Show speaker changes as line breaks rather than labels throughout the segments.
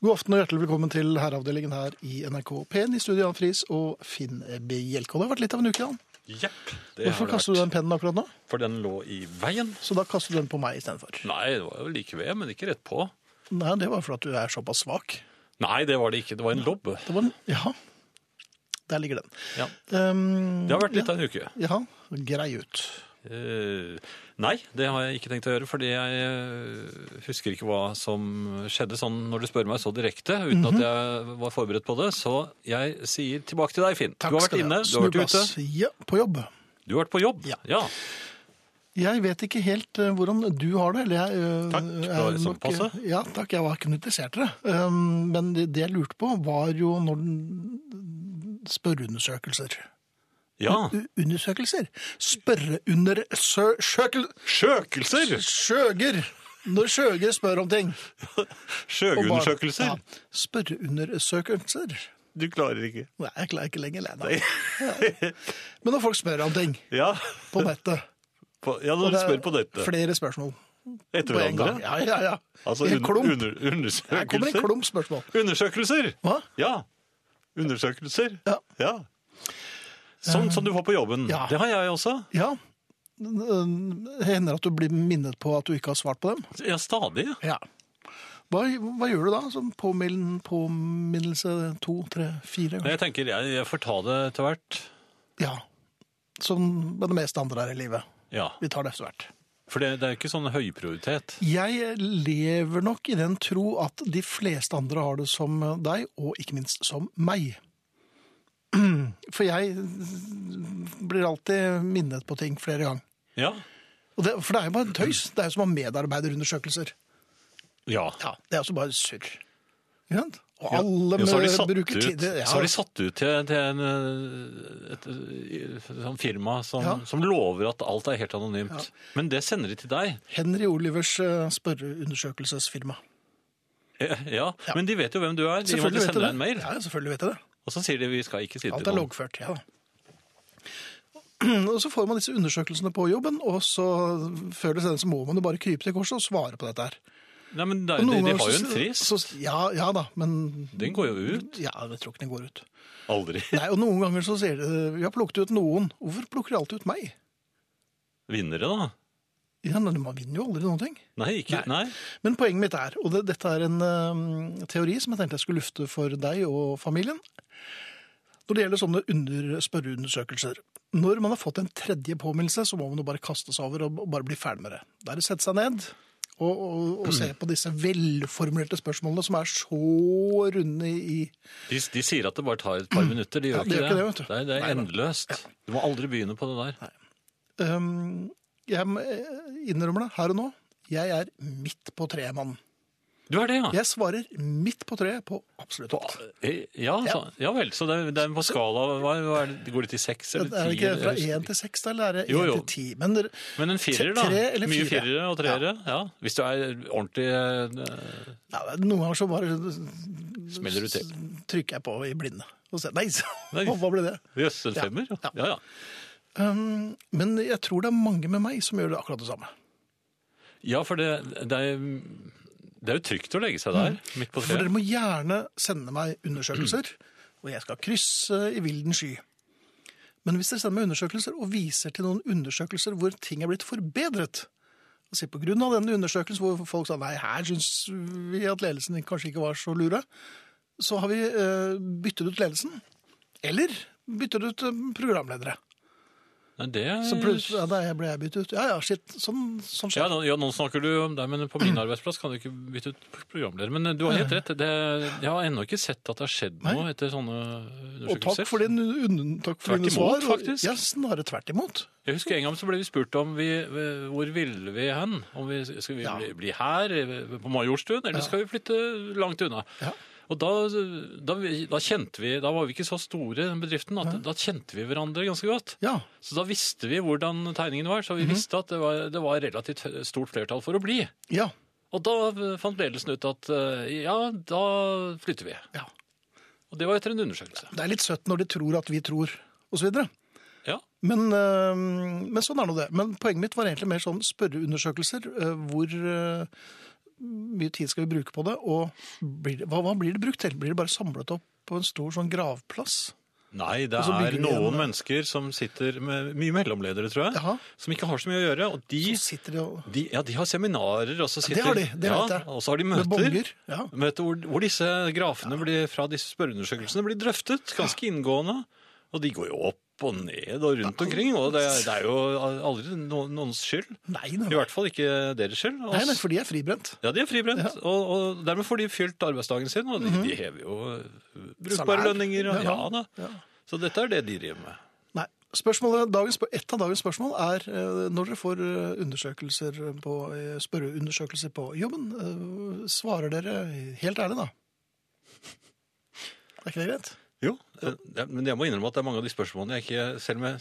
God aften og hjertelig velkommen til herreavdelingen her i NRK P1 i studio Jan Friis og Finn Bjelke. Og Det har vært litt av en uke, Jan.
Jepp. det har
Hvorfor
det
kaster du
vært.
den pennen akkurat nå?
For den lå i veien.
Så da kaster du den på meg istedenfor.
Nei, det var jo like ved, men ikke rett på.
Nei, det var fordi at du er såpass svak.
Nei, det var det ikke. Det var en lobbe.
Det var den. Ja. Der ligger den.
Ja.
Um,
Det har vært litt av en uke.
Ja, grei ut.
Eh, nei, det har jeg ikke tenkt å gjøre, fordi jeg eh, husker ikke hva som skjedde sånn når du spør meg så direkte, uten
Mhm.
at jeg var forberedt på det. Så jeg sier tilbake til deg, Finn. du har
skal
vært inne,
ha.
du har vært
Snublas.
ute,
Ja, på jobb.
du har vært på jobb.
Ja. Jeg vet ikke helt eh, hvordan du har det. Eller jeg, eh,
Takk, det var
er
sånn
nok- eh,
passe.
Ja, takk. Jeg var ikke noe interessert i det. Um, Men det det jeg lurte på, var jo når den- Spørreundersøkelser.
ja.
U- Undersøkelser? Spørreundersøkel...
Sjøkelser!
Sjøger! Når sjøger spør om ting. Og barn-
Sjøgundersøkelser.
Ja, Spørreundersøkelser.
Du klarer ikke.
Nei, jeg klarer ikke lenger, Lena. Ja. Men når folk spør om ting
Ja,
på nettet
på, ja når
og
du
det er
spør på dette
Flere spørsmål
etter
på en
hverandre.
gang. Ja, ja, ja.
Altså
I en
un-
klump. Her
Under,
kommer en
undersøkelser.
klump spørsmål.
Undersøkelser!
Hva?
Ja. Undersøkelser.
Ja.
Sånn som du får på jobben.
Ja.
Det har jeg også.
Ja. Det hender at du blir minnet på at du ikke har svart på dem.
Ja, stadig.
Ja. Hva, hva gjør du da? Sånn påminn, påminnelse to, tre, fire?
Men jeg tenker jeg, jeg får ta det etter hvert.
Ja. Som med det meste andre her i livet.
Ja.
Vi tar det etter hvert.
For det, det er ikke sånn høyprioritet.
Jeg lever nok i den tro at de fleste andre har det som deg, og ikke minst som meg. For jeg blir alltid minnet på ting flere ganger.
Ja.
Og det, for det er jo bare tøys. Det er jo som å ha medarbeiderundersøkelser.
Ja.
Ja, Det er også bare surr. Ikke sant? Og
Ja.
alle
Ja, så har de
med-
satt
bruker
ut-
tid ja.
Så har de satt ut til, til en, eh, et, eh, sånn firma som,
Ja.
som lover at alt er helt anonymt. Men det sender de til deg.
Henry Olivers eh, spørreundersøkelsesfirma.
Ja. Men de vet jo hvem du er. De
Selvfølgelig
måtte
vet jeg
sende
det.
deg en mail.
Ja, selvfølgelig vet jeg det.
Og så sier de vi skal ikke si det
Alt er
til noen.
loggført, ja. Og så får man disse undersøkelsene på jobben, og så før det sendes så må man jo bare krype til korset og svare på dette her.
Nei, men det,
Og
de,
noen
de
ganger
har jo
så-
en frist.
så- Ja, ja da, men
Den går jo ut.
ja, jeg tror ikke den går ut.
Aldri.
Nei, og noen ganger så sier de vi har plukket ut noen. Hvorfor plukker de alltid ut meg?
Vinnere, da?
Ja, men Man vinner jo aldri noen ting.
Nei, ikke Nei.
Men poenget mitt er, og det, dette er en øhm, teori som jeg tenkte jeg skulle lufte for deg og familien, når det gjelder sånne under, spørreundersøkelser. Når man har fått en tredje påminnelse, så må man jo bare kaste seg over og og bare bli ferdig med det. Det er å sette seg ned og, og, og se på disse velformulerte spørsmålene som er så runde i
De, de sier at det bare tar et par minutter. De gjør
Ja, de
ikke,
gjør
det.
ikke det, vet du.
Det, er, det
Nei,
er
nei.
endeløst. Du må aldri begynne på det der.
øhm, ehm, Jeg eh, innrømmer det her og nå. Jeg er midt på treet, mann.
Du er det, ja?
Jeg svarer midt på treet på absolutt alt.
Eh, Ja, så, ja vel. Så det, er- det er på skala hva, hva er det, Går det til seks eller
Er det
ti?
ikke
eller-
fra én til seks, da, eller er det
Jo,
én
jo.
til ti? Men dere-
Men en firer, da.
Tre eller
Mye
fire.
firere og treere. Ja. Hvis du er ordentlig eh,
ja, det er noen ganger så bare
Smeller du til.
trykker jeg på i blinde. Og ser, nei, så,
Nei.
hva ble det?
Jøss, en femmer?
Ja.
Ja, ja.
Um, men jeg tror det er mange med meg som gjør det akkurat det samme.
ja for det, det, er, det er jo trygt å legge seg der, midt på
Mm. For
treet.
dere må gjerne sende meg undersøkelser, og jeg skal krysse i vilden sky. Men hvis dere sender meg undersøkelser og viser til noen undersøkelser hvor ting er blitt forbedret og sier på grunn av denne undersøkelsen hvor folk sa nei, her syns vi at ledelsen kanskje ikke var så lure, så har vi eh, byttet ut ledelsen. Eller byttet ut eh, programledere.
Nei, det er-
Så plutselig ja, nei, ble jeg byttet ut. Ja ja, shit. Sånn, sånn
Mm. Ja,
skjer.
nå, ja, nå snakker du om deg, men på min arbeidsplass kan du ikke bytte ut programleder. Men eh, du har helt rett. Det, jeg har ennå ikke sett at det har skjedd noe etter sånne
og takk
undersøkelser.
for, din, un- takk for
Tvert
dine
imot,
svar. og-
faktisk.
Ja, snarere tvert imot.
Jeg husker en gang så ble vi spurt om vi, eh, hvor ville vi hen. Om vi skal vi
Ja.
bli, bli her eh, på Majorstuen, eller skal vi flytte langt unna?
Ja.
Og da, da, vi- da kjente vi, da var vi ikke så store i den bedriften, at, da kjente vi hverandre ganske godt.
Ja.
Så da visste vi hvordan tegningen var, så vi
Mhm.
visste at det var, det var relativt stort flertall for å bli.
Ja.
Og da eh, fant ledelsen ut at eh, ja, da flytter vi.
ja.
Og det var etter en undersøkelse.
Det er litt søtt når de tror at vi tror, osv.
Ja,
Men, øh, men sånn er nå det. Men poenget mitt var egentlig mer sånn spørreundersøkelser øh, hvor øh, eh, mye tid skal vi bruke på det? Og blir det, hva, hva blir det brukt til? Blir det bare samlet opp på en stor sånn gravplass?
Nei, det
Og så bygger
er
vi
noen
en-
mennesker som sitter med mye mellomledere, tror jeg,
Jaha.
som ikke har så mye å gjøre. Og de,
Så sitter de og
de, ja, de har seminarer, og så
det
sitter
har de, det vet jeg.
Ja, og så har de
med
møter.
bonger. Ja.
Møter hvor, hvor disse grafene blir, fra disse spørreundersøkelsene blir drøftet ganske inngående. Og de går jo opp og ned og rundt omkring, og det, det er jo aldri no, noens skyld.
Nei, nei,
I hvert fall ikke deres skyld. Og
nei, nei, for de er fribrent.
ja, Mhm. de er fribrent, og, og dermed får de fylt arbeidsdagen sin, og de, de hever jo eh, brukbare
Salær.
lønninger. Og, ja,
Ja,
da.
ja.
Så dette er det de driver med.
Nei. Spørsmålet, dagens, spør- et av dagens spørsmål er eh, når dere får eh, undersøkelser på, eh, spørreundersøkelser på jobben, eh, svarer dere helt ærlig da? Er ikke det greit?
Jo, eh, det, men jeg må innrømme at det er mange av de spørsmålene jeg ikke Selv om jeg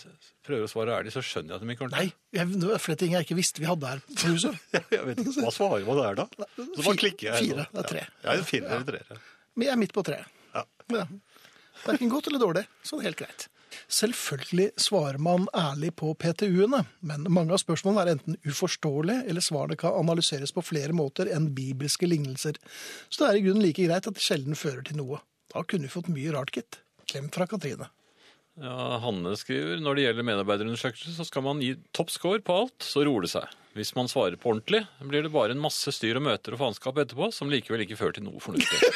prøver å svare ærlig, så skjønner jeg at de ikke
Nei,
ordentlig.
jeg, det er flere ting jeg ikke visste vi hadde her på huset.
Jeg vet ikke hva svarer man der, da. Så bare
Fi-
klikker jeg.
Fire, det er tre.
Ja, en fire eller treer.
Men jeg er midt på treet.
Ja.
Ja. Verken godt eller dårlig. Sånn helt greit. Selvfølgelig svarer man ærlig på PTU-ene, men mange av spørsmålene er enten uforståelige, eller svarene kan analyseres på flere måter enn bibelske lignelser. Så det er i grunnen like greit at det sjelden fører til noe. Da kunne vi fått mye rart, gitt. Klem fra Katrine.
Ja, Hanne skriver når det gjelder medarbeiderundersøkelser, så skal man gi topp score på alt, så roer det seg. Hvis man svarer på ordentlig, blir det bare en masse styr og møter og faenskap etterpå, som likevel ikke fører til noe fornuftig.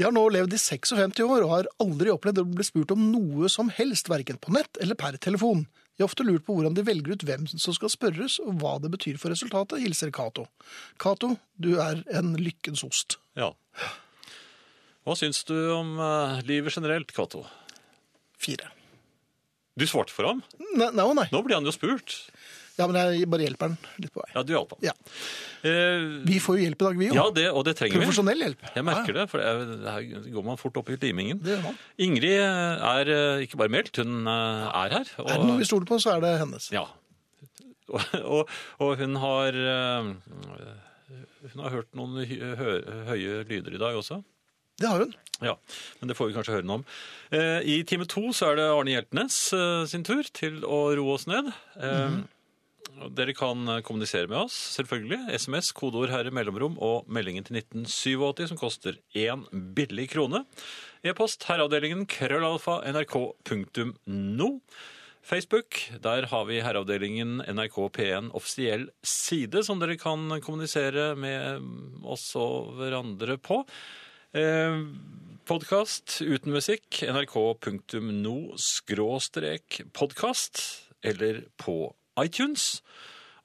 Jeg har nå levd i 56 år og har aldri opplevd å bli spurt om noe som helst, verken på nett eller per telefon. Jeg har ofte lurt på hvordan de velger ut hvem som skal spørres, og hva det betyr for resultatet, hilser Cato. Cato, du er en lykkens ost.
Ja. Hva syns du om eh, livet generelt, Cato?
Fire.
Du svarte for ham.
Nei, nei og nei.
Nå blir han jo spurt.
Ja, men jeg bare hjelper den litt på vei.
Ja, du hjalp ham.
Ja.
Eh,
Vi får jo hjelp i dag, vi jo.
ja, det, og det trenger vi.
Profesjonell hjelp.
Jeg merker det, for det er, her går man fort opp i limingen.
Det gjør man.
Ingrid er eh, ikke bare meldt, hun eh, er her. Og,
Er det noe vi stoler på, så er det hennes.
Ja. Og, og, og hun har eh, Hun har hørt noen hy- hø, høye lyder i dag også.
Det har hun.
Ja, men det får vi kanskje høre noe om. Eh, I time to så er det Arne Hjeltnes eh, sin tur til å roe oss ned. Eh, og Dere kan eh, kommunisere med oss, selvfølgelig. SMS, kodeord herre mellomrom og meldingen til 1987 som koster én billig krone. E-post herreavdelingen krøllalfa nrk.no. Facebook, der har vi herreavdelingen NRK P1 offisiell side, som dere kan kommunisere med oss og hverandre på. Eh, podkast uten musikk, nrk.no-podkast, eller på iTunes.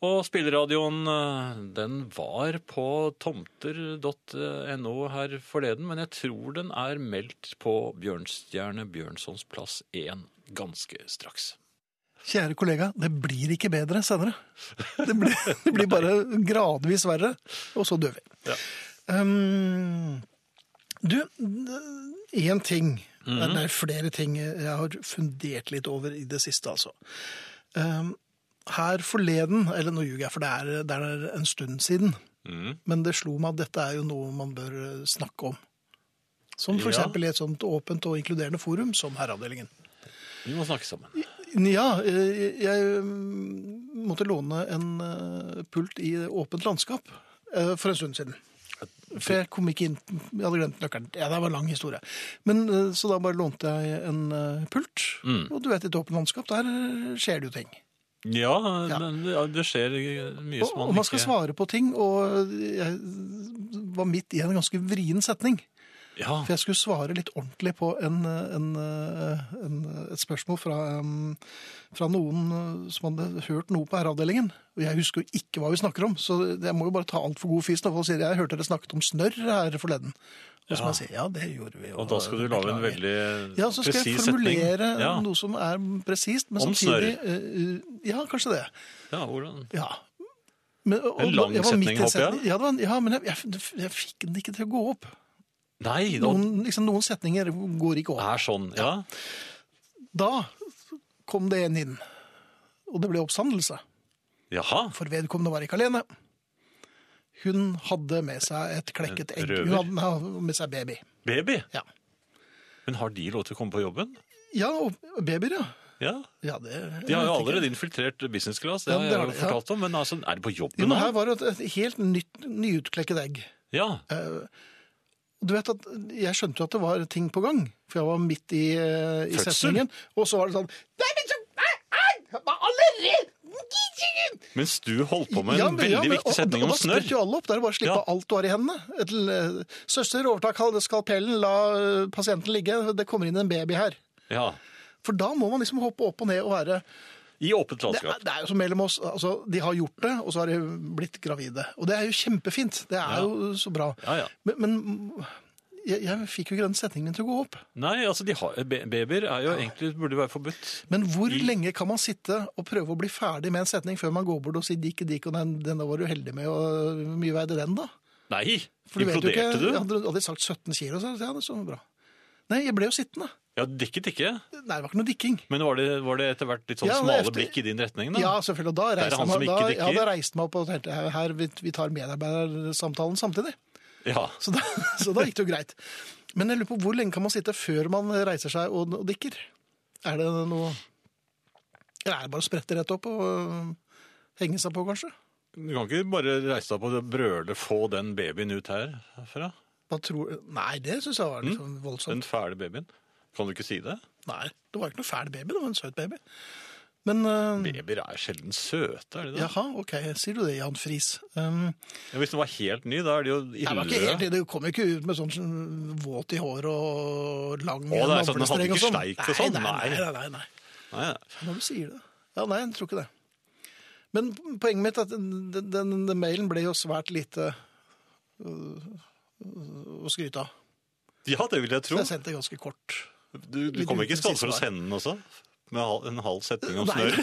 Og spilleradioen, eh, den var på tomter.no her forleden, men jeg tror den er meldt på Bjørnstjerne Bjørnsons plass 1 ganske straks.
Kjære kollega, det blir ikke bedre senere. Det blir, det blir bare gradvis verre, og så dør vi.
Ja.
Um, du, én ting Det er flere ting jeg har fundert litt over i det siste, altså. Um, her forleden, eller nå ljuger jeg, for det er, det er en stund siden,
Mm.
men det slo meg at dette er jo noe man bør eh, snakke om. Som for
Ja.
eksempel i et sånt åpent og inkluderende forum som Herreavdelingen.
Vi må snakke sammen.
Ja, eh, jeg mm, måtte låne en eh, pult i åpent landskap eh, for en stund siden. For jeg kom ikke inn, jeg hadde glemt nøkkelen. Ja, det var en lang historie. Men, eh, så da bare lånte jeg en eh, pult, og du vet, i et åpent landskap, der eh, skjer det jo ting.
Ja,
Ja.
men det- ja, det skjer mye
Og,
som
og man skal
ikke
svare på ting, og eh, jeg var midt i en ganske vrien setning.
Ja,
For jeg skulle svare litt ordentlig på en, en, en, et spørsmål fra, em, fra noen uh, som hadde hørt noe på herreavdelingen. Og jeg husker jo ikke hva vi snakker om, så jeg må jo bare ta alt for god fis. Da, for å si det. Jeg hørte dere snakket om snørr her forleden. Og så må jeg si, ja, det gjorde vi.
Og da skal du lage en veldig
ja, så skal jeg
presis setning.
formulere
Ja.
noe som er presist, men
Om
samtidig eh, Ja, kanskje det.
Ja, hvordan?
Ja. Men, og-
En lang
jeg var midt i
setning,
en
håper jeg.
setning- Ja, det var, en- ja men jeg, jeg, jeg fikk den ikke til å gå opp.
Nei, da,
Noen, liksom, noen setninger går ikke opp.
er sånn, ja.
Da kom det en inn, og det ble oppstandelse.
Jaha.
For vedkommende var ikke alene. Hun hadde med seg et klekket
En
egg.
røver?
Hun hadde nei, med seg baby.
Baby.
Ja,
Men har de lov til å komme på jobben?
ja og babyer, ja.
Ja,
Ja, det,
De har jo allerede infiltrert business class, det
Ja,
har
det
jeg
har
jo
de, ja.
fortalt om. Men altså, er det på
Jo,
jobben
men
nå?
her var det et et helt nytt, nyutklekket egg.
Ja,
Eh, Du vet at Jeg skjønte jo at det var ting på gang, for jeg var midt i, eh, i
Fødsel?
setningen. Og så var det sånn Nei, men så nei, nei, var allerede
Mens du holdt på med en
Ja, men-
veldig
ja, men-
viktig setning
og-
om
og Da
snørr.
spretter jo alle opp. Da er det bare å slippe
Ja.
alt du har i hendene. Et, l- eh, søster, overta kal- skalpellen, la eh, pasienten ligge. Det kommer inn en baby her.
Ja,
For da må man liksom hoppe opp og ned og være
I åpent
det er,
landskap.
det er jo som mellom oss. Altså, de har gjort det, og så har de blitt gravide. Og det er jo kjempefint. Det er
Ja.
jo så bra.
Ja, ja.
Men, men jeg, jeg fikk jo ikke den setningen min til å gå opp.
Nei, altså, de har, be- babyer er jo egentlig burde være forbudt.
Men hvor lenge kan man sitte og prøve å bli ferdig med en setning før man går bort og sier dikk, dikk, og den, den var du heldig med, og hvor mye veide den, da?
Nei!
For du vet jo
Imploderte
ikke,
du?
Hadde, hadde jeg sagt 17 kilo, så hadde jeg sagt, ja, det er så bra. Nei, jeg ble jo sittende.
Ja, dikket ikke.
Nei, det var ikke noe dikking.
Men var det, var det etter hvert litt sånn
Ja, men
smale
efter-
blikk i din retning, da?
Ja, selvfølgelig. Og da
er
reiste jeg
han
meg-
som ikke
da,
dikker.
ja, da reiste jeg meg opp og tenkte her, her vi, vi tar medarbeidersamtalen samtidig.
ja.
Så da, så da gikk det jo greit. Men jeg lurer på hvor lenge kan man sitte før man reiser seg og, og dikker? Er det noe Eller er det bare å sprette rett opp og øh, henge seg på, kanskje?
Du kan ikke bare reise deg opp og brøle 'få den babyen ut her'? herfra?
Hva tror, nei, det syns jeg
Mm.
var litt sånn voldsomt.
Den fæle babyen? Kan du ikke si det?
Nei, det var ikke noe fæl baby, det var en søt baby. Men øh,
Babyer er sjelden søte, er de det?
Jaha, ok. Sier du det, Jan Friis? Um,
Ja, hvis den var helt ny, da er de jo
jeg var ikke helt
ildrøde.
i det. Du kom jo ikke ut med sånn som våt i håret og lang
det er sånn, den hadde
navlestreng
ikke steik og sånn?
Nei, nei,
Nei.
nei. nei, nei.
Nei, nei.
Når du sier det. Ja, nei, jeg tror ikke det. Men poenget mitt er at den, den, den mailen ble jo svært lite øh, øh, å skryte av.
Ja, det vil jeg
Så
tro.
jeg sendte ganske kort.
Du, du kom ikke i skade for å
Siste
sende den også? Med hal- en halv setning om
Nei.
snørr?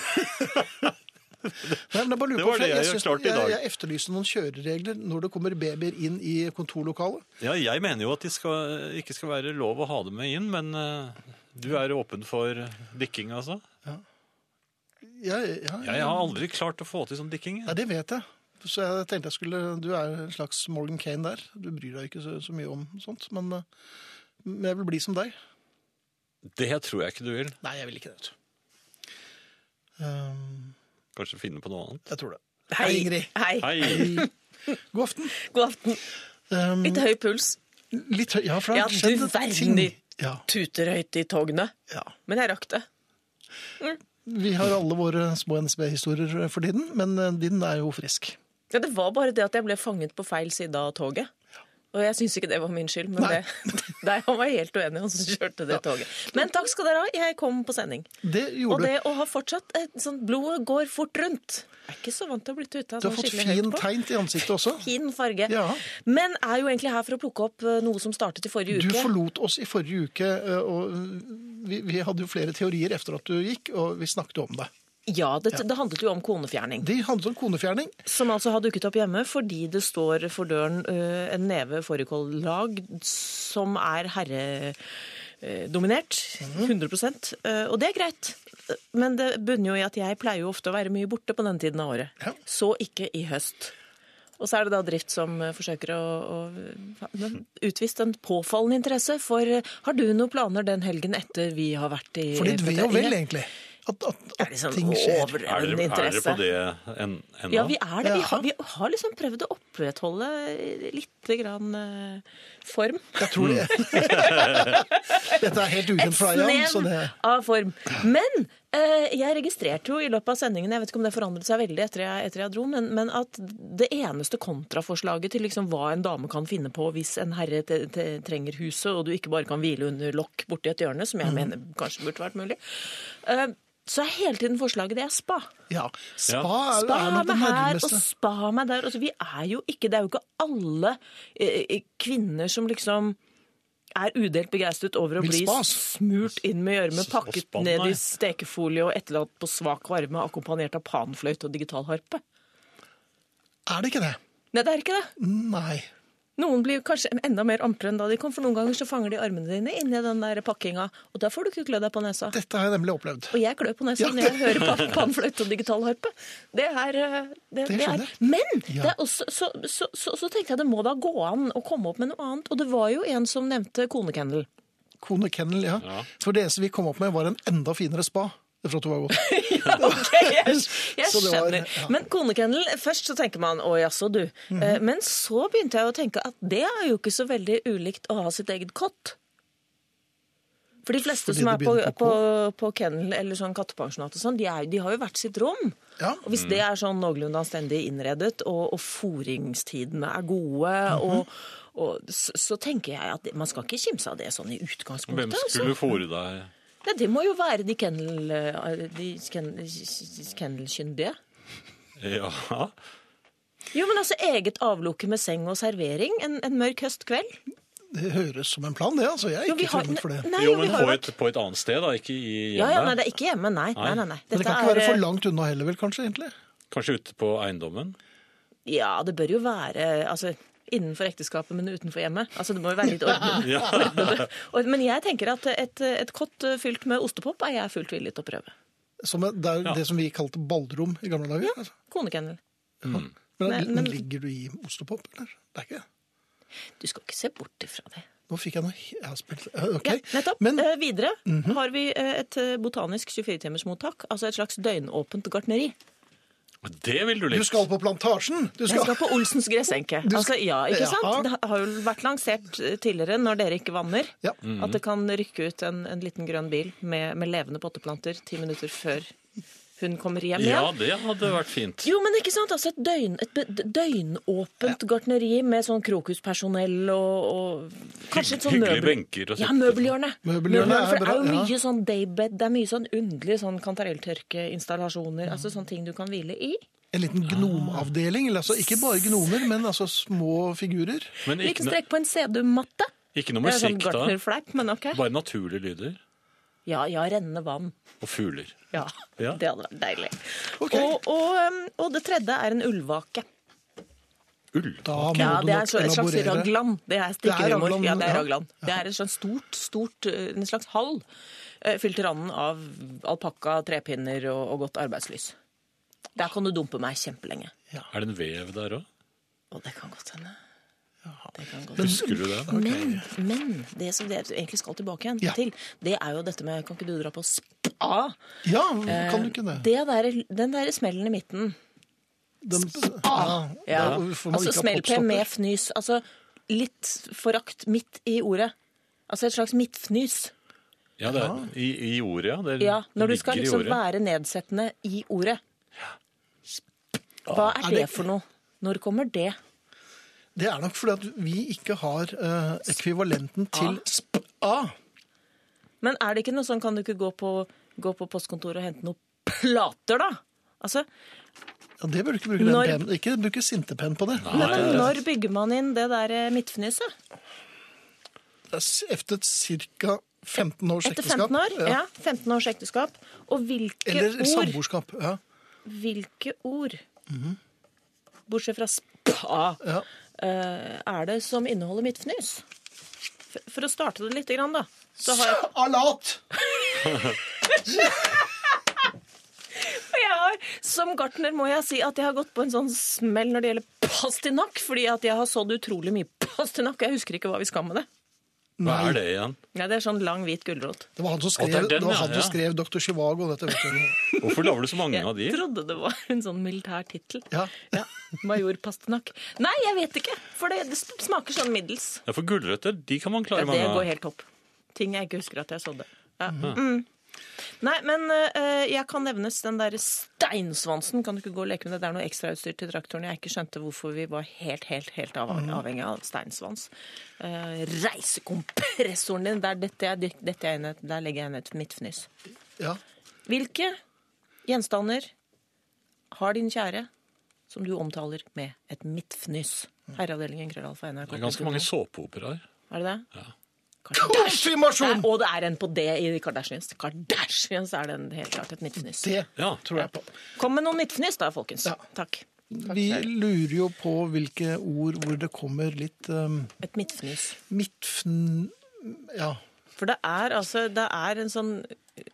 Nei, men jeg bare lurer
Det
på,
var
for
det jeg
syns-
klarte i dag.
Jeg, jeg efterlyser noen kjøreregler når det kommer babyer inn i kontorlokalet.
Ja, jeg mener jo at det skal, ikke skal være lov å ha det med inn, men eh, du er åpen for dikking, altså?
Jeg, ja,
Ja, jeg har aldri klart å få til sånn dikking. jeg.
Nei, det vet jeg. Så jeg tenkte jeg skulle Du er en slags Morgan Kane der. Du bryr deg ikke så, så mye om sånt, men, eh, men jeg vil bli som deg.
Det tror jeg ikke du vil.
Nei, jeg vil ikke det. vet du. Ehm,
Kanskje finne på noe annet.
jeg tror det.
Hei,
Ingrid.
Hei.
Hei!
God aften.
God aften.
Ehm,
Litt høy puls.
litt høy. Ja, for det
Ja,
har
du
skjedd ting.
verden.
Ja,
Tuter høyt i togene.
ja.
Men jeg rakk det.
Vi har alle våre små NSB-historier for tiden, men eh, din er jo frisk.
Ja, det var bare det at jeg ble fanget på feil side av toget. Og jeg syns ikke det var min skyld, men
Nei.
det, Nei, han var helt uenig, han som kjørte det toget. Men takk skal dere ha, jeg kom på sending.
Det
Og
gjorde du.
det å ha fortsatt eh, sånn Blodet går fort rundt. Jeg er ikke så vant til å bli tuta
Du
sånn
har fått
skikkelig høyt
fin
på.
tegn i ansiktet også.
Fin farge.
Ja.
Men er jo egentlig her for å plukke opp eh, noe som startet i forrige
Du
uke.
forlot oss i forrige uke, eh, og vi, vi hadde jo flere teorier etter at du gikk, og vi snakket jo om det.
Ja, det, det handlet jo om konefjerning.
Det handlet om konefjerning.
Som altså har dukket opp hjemme fordi det står for døren eh, en neve fårikållag som er herredominert.
Mhm.
100 eh, Og det er greit. Men det bunner jo i at jeg pleier jo ofte å være mye borte på denne tiden av året.
Ja.
Så ikke i høst. Og så er det da Drift som eh, forsøker å, å men utvist en påfallende interesse for eh, Har du noen planer den helgen etter vi har vært i
For ditt
på
ve og vel,
ferie?
egentlig. At, at,
Det er
at
liksom
ting skjer.
Er dere, er dere
overrevende interesse.
på det en, ennå?
Ja, vi er det. Vi
Ja.
har, vi har liksom prøvd å opprettholde litt grann, eh, form.
Jeg tror det. Dette er helt ukjent for deg, Jan. Så
Snev
det,
av form. Men eh, jeg registrerte jo i løpet av sendingen, jeg vet ikke om det forandret seg veldig etter jeg, etter jeg dro, men, men at det eneste kontraforslaget til liksom hva en dame kan finne på hvis en herre te, te, trenger huset, og du ikke bare kan hvile under lokk borti et hjørne,
Mm.
som jeg mener kanskje burde vært mulig, eh, så er hele tiden forslaget det er spa.
ja. Spa
Ja.
er,
Spa
er nok det
meg her og
nærmeste.
spa meg der. Altså, vi er jo ikke, det er jo ikke alle eh, kvinner som liksom er udelt begeistret over å
Vil
bli
spas.
smurt inn med gjørme,
S- og
pakket
spann,
ned
nei.
i stekefolie og etterlatt på svak varme, akkompagnert av panfløyte og digitalharpe.
Er det ikke det?
Nei, det er ikke det.
Nei.
Noen blir kanskje enda mer ampre enn da de kom, for noen ganger så fanger de armene dine inni den der pakkinga, og da får du ikke klø deg på nesa.
Dette har jeg nemlig opplevd.
Og jeg klør på nesa
Ja,
når jeg hører pa- panfløyte og digitalharpe. Det er, eh, det,
Det
det er.
skjønner jeg.
Men
Ja.
det er også, så, så, så, så tenkte jeg det må da gå an å komme opp med noe annet. Og det var jo en som nevnte konekennel.
Kone Kennel, ja.
Ja.
For det eneste vi kom opp med, var en enda finere spa. fra Tobago.
Ok, jeg, jeg
Så det var-
skjønner.
ja. Mhm.
Men konekennel, først så tenker man å jaså, du. Eh, Men så begynte jeg å tenke at det er jo ikke så veldig ulikt å ha sitt eget kott. For de fleste
Fordi
som er
det
på,
begynner på
på, på kennel eller sånn kattepensjonat og sånn, de, er, de har jo hvert sitt rom.
Ja. Mm.
Og hvis det er sånn noenlunde anstendig innredet, og, og foringstidene er gode,
Mhm.
og, og så, så tenker jeg at det, man skal ikke kimse av det sånn i utgangspunktet.
Hvem
altså.
skulle fôre deg?
Ja, det må jo være de kennel- eh, de ken- kennelkyndige.
Ja.
Jo, men altså eget avlukke med seng og servering en, en mørk høstkveld.
Det høres som en plan, det. altså. Jeg er
Jo, vi
ikke
har-
fremmed for det.
Nei,
jo,
vi
men
har
på
vært-
et, på et annet sted, da. Ikke i
Ja, ja, nei,
hjemmet.
det er ikke hjemme, nei. nei, nei, nei.
Men det kan ikke
eh,
være for langt unna heller, vel, kanskje? egentlig?
Kanskje ute på eiendommen.
Ja, det bør jo være altså, innenfor ekteskapet, men utenfor hjemmet. Altså, det må jo være litt ordnet. ordnede. Og- Men jeg tenker at et, et kott eh, fylt med ostepop er jeg fullt villig til å prøve.
Som er, det er jo
Ja.
det som vi kalte ballrom i gamle dager. Altså.
Konekennel.
Men,
Men-
men,
men-
ligger du i ostepop, eller? Det er ikke det.
Du skal ikke se bort ifra det.
Nå fikk jeg noe he- jeg har spilt. eh, Ok.
Ja, nettopp.
Men Mhm.
eh, videre har vi eh, et eh, botanisk 24-timersmottak, altså et slags døgnåpent gartneri.
Det vil du
du
likt.
skal på Plantasjen! Du
Jeg
skal,
skal på Olsens gressenke.
Du
Altså,
skal-
ja, ikke sant?
Jaha.
Det har jo vært lansert eh, tidligere, når dere ikke vanner,
Ja.
at det kan rykke ut en, en liten grønn bil med, med levende potteplanter ti minutter før hun kommer hjem
Ja,
igjen.
det hadde vært fint.
Jo, men ikke sant? Altså et, døgn, et be- døgnåpent gartneri med sånn krokuspersonell og, og Kanskje et sånn
Hyggelige
møbel...
benker å sitte
Ja,
på.
møbelhjørnet.
sånn.
Møbelhjørnet er
for det er jo
bra, ja.
mye sånn daybed, det er mye sånn underlige sånn kantarelltørkeinstallasjoner, altså sånne ting du kan hvile i.
En liten gnomavdeling. eller Altså, ikke bare gnomer, men altså små figurer.
Men
Ikke
ikke, no-
strekk på en sedummatte.
ikke noe
Det er sånn
musikk, da.
gartnerfleip, men ok.
Bare naturlige lyder.
Ja, ja, rennende vann.
Og fugler.
Ja,
Ja.
det hadde vært deilig.
Ok.
Og, og, um, og det tredje er en ullvake.
Ull.
Da må
Ja,
du
det er
nok
så- et slags sånn
elaborere.
raglan. Det er stikkehumor.
raglan,
Ja, det er
ja.
raglan. Det er et slags stort, stort, uh, en slags hall eh, fylt til randen av alpakka, trepinner og, og godt arbeidslys. Der kan du dumpe meg kjempelenge.
Er det en vev der òg?
Og det kan godt hende. Det kan godt hende.
Husker du det?
Men, men det som dere egentlig skal tilbake igjen
Ja.
til, det er jo dette med Kan ikke du dra på spa? Eh,
Ja, kan du ikke det?
det der, den derre smellen i midten.
Den, ja,
ah, Ja.
da får man
Altså
ikke ha
smell
popstopper.
med fnys. Altså litt forakt midt i ordet. Altså et slags midtfnys.
Ja, det er, i, I ordet, ja. Det
Ja, når du
ligger
skal
i
liksom
ordet.
være nedsettende i ordet. Hva er det for noe? Når kommer det?
Det er nok fordi at vi ikke har eh, ekvivalenten
Ah.
til spa.
Men er det ikke noe sånn, kan du ikke gå på, gå på postkontoret og hente noen plater, da? Altså,
Ja, det bør du ikke bruke den
Når-
pennen. Ikke bruke sintepenn på det.
Nei, men når bygger man inn det der eh, midtfnyset?
Det er s- Efter ca. 15 års
Etter
ekteskap.
15 år? Ja, 15 års ekteskap. Og hvilke
Eller
ord?
samboerskap. Ja.
Hvilke ord, bortsett fra spa,
Ja.
eh, er det som inneholder midtfnys? For, for å starte det lite grann, da. Så har jeg,
Salat!
jeg har, som gartner må jeg si at jeg har gått på en sånn smell når det gjelder pastinakk, fordi at jeg har sådd utrolig mye pastinakk, og jeg husker ikke hva vi skal med det.
Hva er det igjen?
Ja, det er sånn lang, hvit gulrot.
Det var han som
Å,
skrev,
det er den,
det var
ja,
han som
ja.
skrev Dr. Chivago. Dette, vet du.
Hvorfor lager du så mange av de?
Jeg trodde det var en sånn militær tittel.
Ja.
Ja, Major Pastenak. Nei, jeg vet ikke, for det, det smaker sånn middels.
Ja, for gulrøtter, de kan man klare
Ja, det
mange
går
av.
helt opp. Ting jeg ikke husker at jeg sådde. Ja. Mm. Nei, men eh, jeg kan nevnes den der steinsvansen. Kan du ikke gå og leke med det? Det er noe ekstrautstyr til traktoren. Jeg ikke skjønte hvorfor vi var helt, helt, helt av, avhengig av steinsvans. Eh, reisekompressoren din, der, detter jeg, dyk- detter jeg inn et, der legger jeg inn et midtfnys.
Ja.
Hvilke gjenstander har din kjære som du omtaler med et midtfnys? Herreavdelingen krøllalfa nrk.
Det er ganske mange såpeoperaer.
Er det det?
Ja.
Kanskje-
Konfirmasjon!
Nei, og det er en på det i Kardashians. Kardashians er den helt klart et midtfnys.
Det
Ja.
tror jeg på.
Kom med noen midtfnys da, folkens.
Ja.
Takk.
Vi lurer jo på hvilke ord hvor det kommer litt um,
Et midtfnys.
midtfn... Ja.
For det er altså Det er en sånn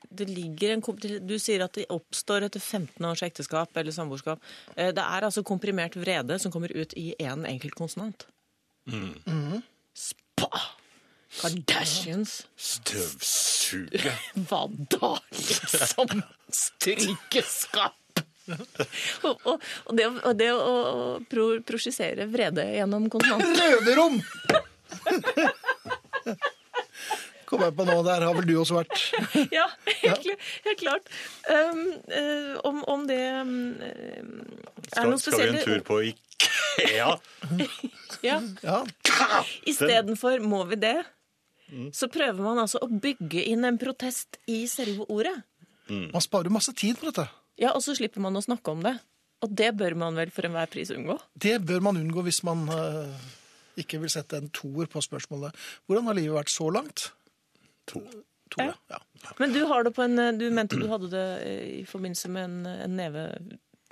det ligger en komp- Du sier at det oppstår etter 15 års ekteskap eller samboerskap. Eh, Det er altså komprimert vrede som kommer ut i én en enkelt konsonant. Mm-hmm. Spa! Kardashians.
Støvs. suge.
Hva da, liksom? Strykeskap! og, og, og det, å- og det å å pro, prosjisere vrede gjennom konsonanter
Røverom! Kom jeg på nå, der har vel du også vært.
Ja, helt, kl- helt klart. Um, eh, om, om det um, eh,
Skal,
er noe
skal vi en
spesielt
tur på Ikea?
Ja.
Ja,
Istedenfor 'må vi det',
Mm.
så prøver man altså å bygge inn en protest i selve ordet.
Man sparer masse tid på dette.
Ja, og så slipper man å snakke om det. Og det bør man vel for enhver pris unngå.
Det bør man unngå hvis man eh, ikke vil sette en toer på spørsmålet. Hvordan har livet vært så langt?
To.
To, ja. ja.
Men du har det på en eh, Du mente du hadde det eh, i forbindelse med en, en neve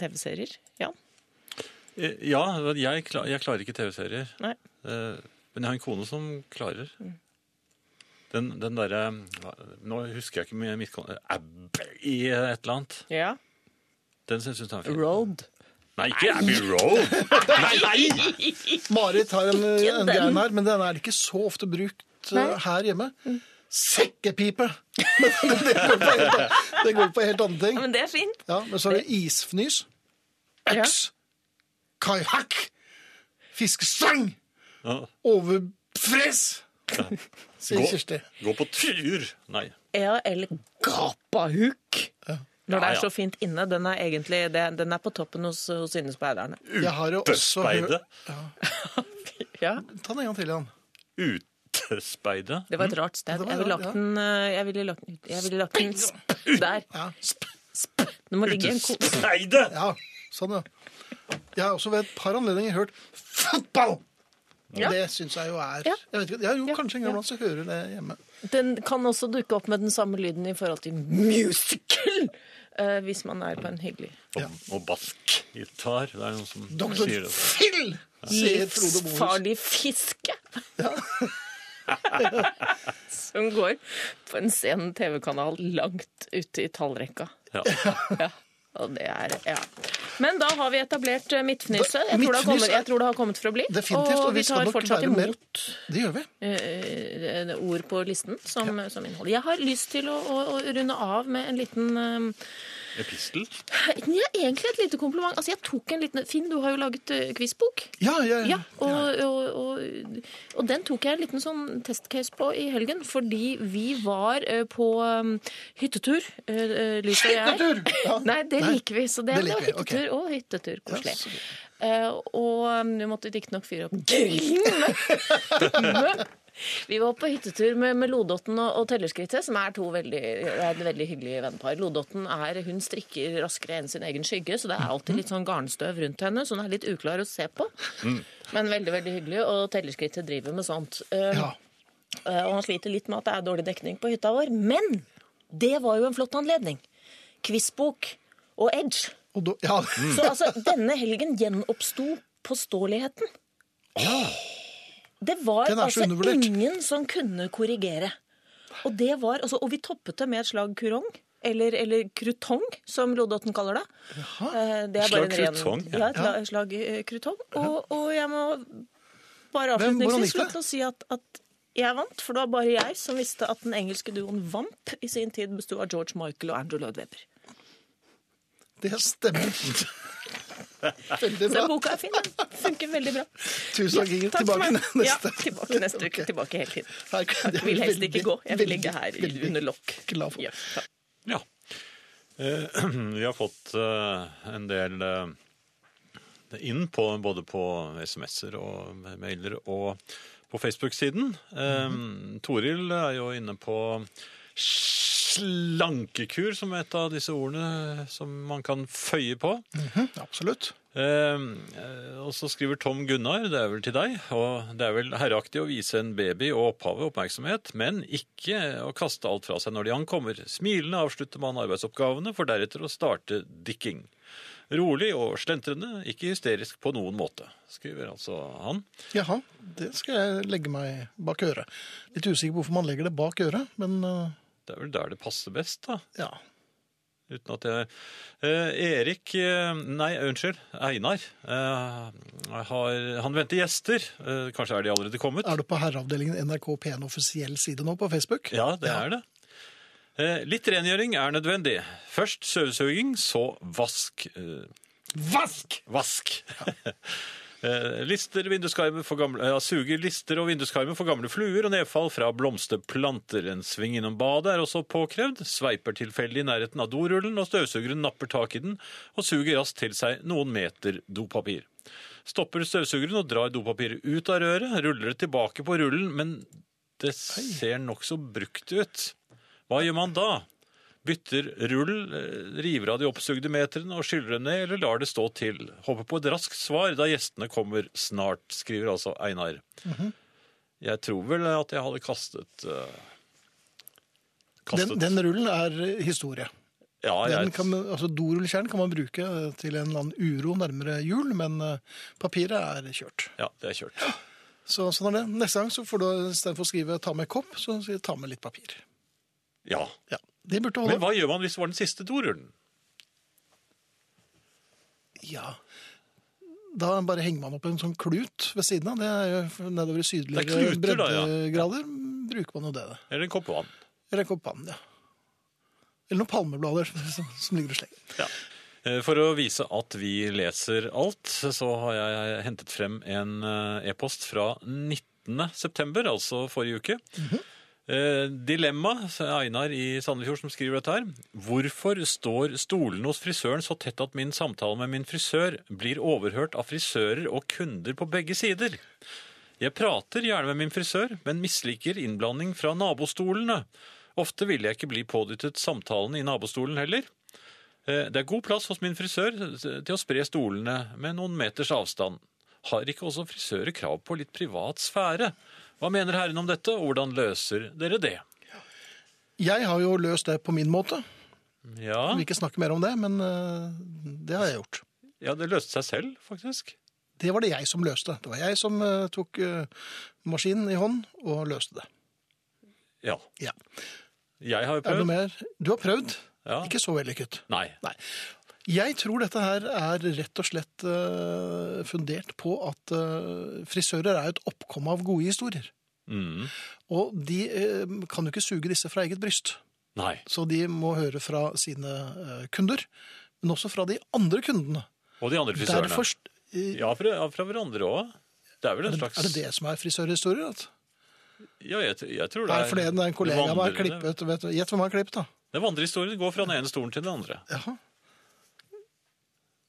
TV-serier? Ja?
Eh, Ja, jeg, kla- jeg klarer ikke TV-serier.
Nei?
Eh, Men jeg har en kone som klarer.
Mm.
Den, den derre hva- Nå husker jeg ikke mye midtkone Abb i et eller annet.
Ja.
Den syns hun er fin.
Road.
Nei, ikke Abbey Road! Nei, nei!
Marit har en,
Ikke
en
den.
grein her, men den er ikke så ofte brukt eh,
Nei. Mm.
her hjemme. Sekkepipe! Men det, det, går på helt, det går på helt andre ting.
Men det er fint.
Ja, men så er det isfnys,
Ja.
øks, kajak, fiskestang,
Ja.
overfres, sier
Gå.
Kirsti.
Gå på tur! Nei.
Ja, eller gapahuk. Når det
Ja,
er
ja.
så fint inne. Den er egentlig det, den er på toppen hos, hos innespeiderne.
Jeg har jo også
Utespeide.
hørt
Ja,
Ta den en gang til, Jan.
Utespeide.
det var et rart sted.
Mm. Det var
Jeg ville
rart,
lagt
ja.
den eh, Jeg ville lagt den, jeg ville lagt den sp der.
Ja.
Sp. Det må ligge en ko...
Utespeide!
Ja, sånn, ja. Jeg har også ved et par anledninger hørt fotball!
Ja.
Det syns jeg jo er
Ja.
Jeg vet ikke, jeg, jo,
Ja,
Kanskje en gang iblant så hører jeg det hjemme.
Den kan også dukke opp med den samme lyden i forhold til musical! eh, hvis man er på en hyggelig
Ja.
Og, og bassgitar. Det er noen som
Doktor
sier det.
Phil! sier Frode Bohus.
livsfarlig fiske! Som går på en sen TV-kanal langt ute i tallrekka.
Ja.
Ja. Og det er, ja. Men da har vi etablert eh, midtfnyset. Jeg tror, det har
Midtfnys
kommet,
er-
jeg tror det har kommet for å bli.
Definitivt, og
og
vi
vi
skal
tar
nok
fortsatt
være mer-
imot
Det gjør vi.
eh, eh, ord på listen som, som innhold. Jeg har lyst til å, å, å runde av med en liten eh,
Epistel.
ja, Egentlig et lite kompliment. Altså, jeg tok en liten Finn, du har jo laget eh, quizbok.
Ja, jeg,
Ja, og, og, og, og den tok jeg en liten sånn testcase på i helgen, fordi vi var eh, på um, hyttetur. eh, eh, Lys og jeg.
Hyttetur! Ja.
Nei, det
Nei,
liker vi. Så det,
det
det
liker
var
vi, ok.
hyttetur og hyttetur. Koselig.
så
Eh, og um, vi måtte riktignok fyre opp grillen. Men Vi var på hyttetur med, med Lodotten og, og Tellerskrittet, som er to veldig, er et veldig hyggelige vennepar. Lodotten er, hun strikker raskere enn sin egen skygge, så det er
Mm.
alltid litt sånn garnstøv rundt henne, så hun er litt uklar å se på.
Mm.
Men veldig, veldig hyggelig, og Tellerskrittet driver med sånt. Eh,
Ja.
eh, Og han sliter litt med at det er dårlig dekning på hytta vår, men det var jo en flott anledning. Quizbok og Edge.
Og da, ja.
Så altså, denne helgen gjenoppsto påståeligheten. Det var
Den er så
altså
undervurdert.
ingen som kunne korrigere. Og, det var, altså, og vi toppet det med et slag kurong. Eller, eller krutong, som Lodotten kaller det. Eh, det er bare
Slag
en ren-
krutong, ja.
Ja, et la- slag eh, krutong. Og, og jeg må bare
Hvem- hvordan
avslutningsvis
gikk det?
få lov til å si at, at jeg vant, for det var bare jeg som visste at den engelske duoen Vamp i sin tid besto av George Michael og Andrew Lloyd Webber.
Det stemmer. Veldig
Så
bra.
den boka er fin. Den funker veldig bra.
Tusen takk, Ingrid.
Takk for
Tilbake
meg.
neste.
Ja, tilbake neste uke.
Ok.
Tilbake hele tiden.
Her kan jeg
Jeg vil helst ikke
veldig,
gå. Jeg vil ligge
veldig,
her
veldig
under lokk.
glad for.
Ja, takk.
Ja. Eh, Vi har fått eh, en del eh, inn på, både på SMS-er og mailer og på Facebook-siden. Eh, Toril er jo inne på slankekur som et av disse ordene som man kan føye på.
Mhm, Absolutt.
Eh, eh, og så skriver Tom Gunnar, det er vel til deg, og det er vel herreaktig å vise en baby og opphavet oppmerksomhet, men ikke å kaste alt fra seg når de ankommer. Smilende avslutter man arbeidsoppgavene, for deretter å starte dikking. Rolig og slentrende, ikke hysterisk på noen måte, skriver altså han.
Jaha, det skal jeg legge meg bak øret. Litt usikker på hvorfor man legger det bak øret, men øh,
Det er vel der det passer best, da.
ja.
Uten at jeg eh, Erik eh, Nei, unnskyld. Einar. Eh, har, han venter gjester. Eh, kanskje er de allerede kommet?
Er du på herreavdelingen NRK P1 offisiell side nå på Facebook?
Ja, det er det. Eh, Litt rengjøring er nødvendig. Først støvsuging, så vask. Eh,
Vask!
Vask! Eh, lister, vinduskarmer for gamle, ja, suger lister og vinduskarmer for gamle fluer og nedfall fra blomsterplanter. En sving innom badet er også påkrevd. Sveiper tilfeldig i nærheten av dorullen, og støvsugeren napper tak i den og suger raskt til seg noen meter dopapir. Stopper støvsugeren og drar dopapiret ut av røret, ruller det tilbake på rullen, men det ser nokså brukt ut. Hva gjør man da? Bytter rull, eh, river av de oppsugde meterne og skyller det ned, eller lar det stå til. Håper på et raskt svar da gjestene kommer snart, skriver altså Einar.
Mhm.
Jeg tror vel at jeg hadde kastet eh, Kastet.
Den, den rullen er historie.
ja,
Den
jeg,
kan, man- altså Dorullkjernen kan man bruke eh, til en eller annen uro nærmere jul, men eh, papiret er kjørt.
ja, det er kjørt.
Så sånn er det. Neste gang så får du istedenfor å skrive 'ta med kopp', så sier du 'ta med litt papir'.
Ja.
Ja, Det burde holde.
Men hva gjør man hvis det var den siste dorullen?
Ja. Da bare henger man opp en sånn klut ved siden av. Det er jo nedover i
Det er
sydligere
kluter, da, ja.
breddegrader. Bruker man jo det.
Eller en kopp vann?
Eller en kopp vann, ja. Eller noen palmeblader som, som ligger og slenger.
Ja. Eh, For å vise at vi leser alt, så har jeg hentet frem en eh, e-post fra 19. september, altså forrige uke. Eh, Dilemma, så er Einar i Sandefjord som skriver dette her. Hvorfor står stolene hos frisøren så tett at min samtale med min frisør blir overhørt av frisører og kunder på begge sider? Jeg prater gjerne med min frisør, men misliker innblanding fra nabostolene. Ofte vil jeg ikke bli pådyttet samtalen i nabostolen heller. Eh, Det er god plass hos min frisør til å spre stolene med noen meters avstand. Har ikke også frisører krav på litt privat sfære? Hva mener herren om dette, og hvordan løser dere det?
Jeg har jo løst det på min måte.
Ja,
Jeg vil ikke snakke mer om det, men eh, det har jeg gjort.
ja det løste seg selv, faktisk.
Det var det jeg som løste. Det var jeg som eh, tok eh, maskinen i hånd og løste det.
Ja.
Ja.
Jeg har
Er
jo
det noe
prøvd.
mer? Du har prøvd.
Ja.
Ikke så vellykket.
Nei.
Nei. Jeg tror dette her er rett og slett eh, fundert på at eh, frisører er et oppkomme av gode historier.
Mm.
Og de eh, kan jo ikke suge disse fra eget bryst,
Nei.
så de må høre fra sine eh, kunder, men også fra de andre kundene.
Og de andre frisørene.
Derfor, eh,
Ja, fra, ja, fra hverandre òg. Det er vel en slags
er det det som er frisørhistorier? At?
Ja, jeg, jeg tror det
Nei,
er
for det er en kollega av meg har
vandrende-
klippet. Vet du, gjett hvem han har klippet, da.
Det vandrehistorien går fra den ene stolen til den andre.
Jaha,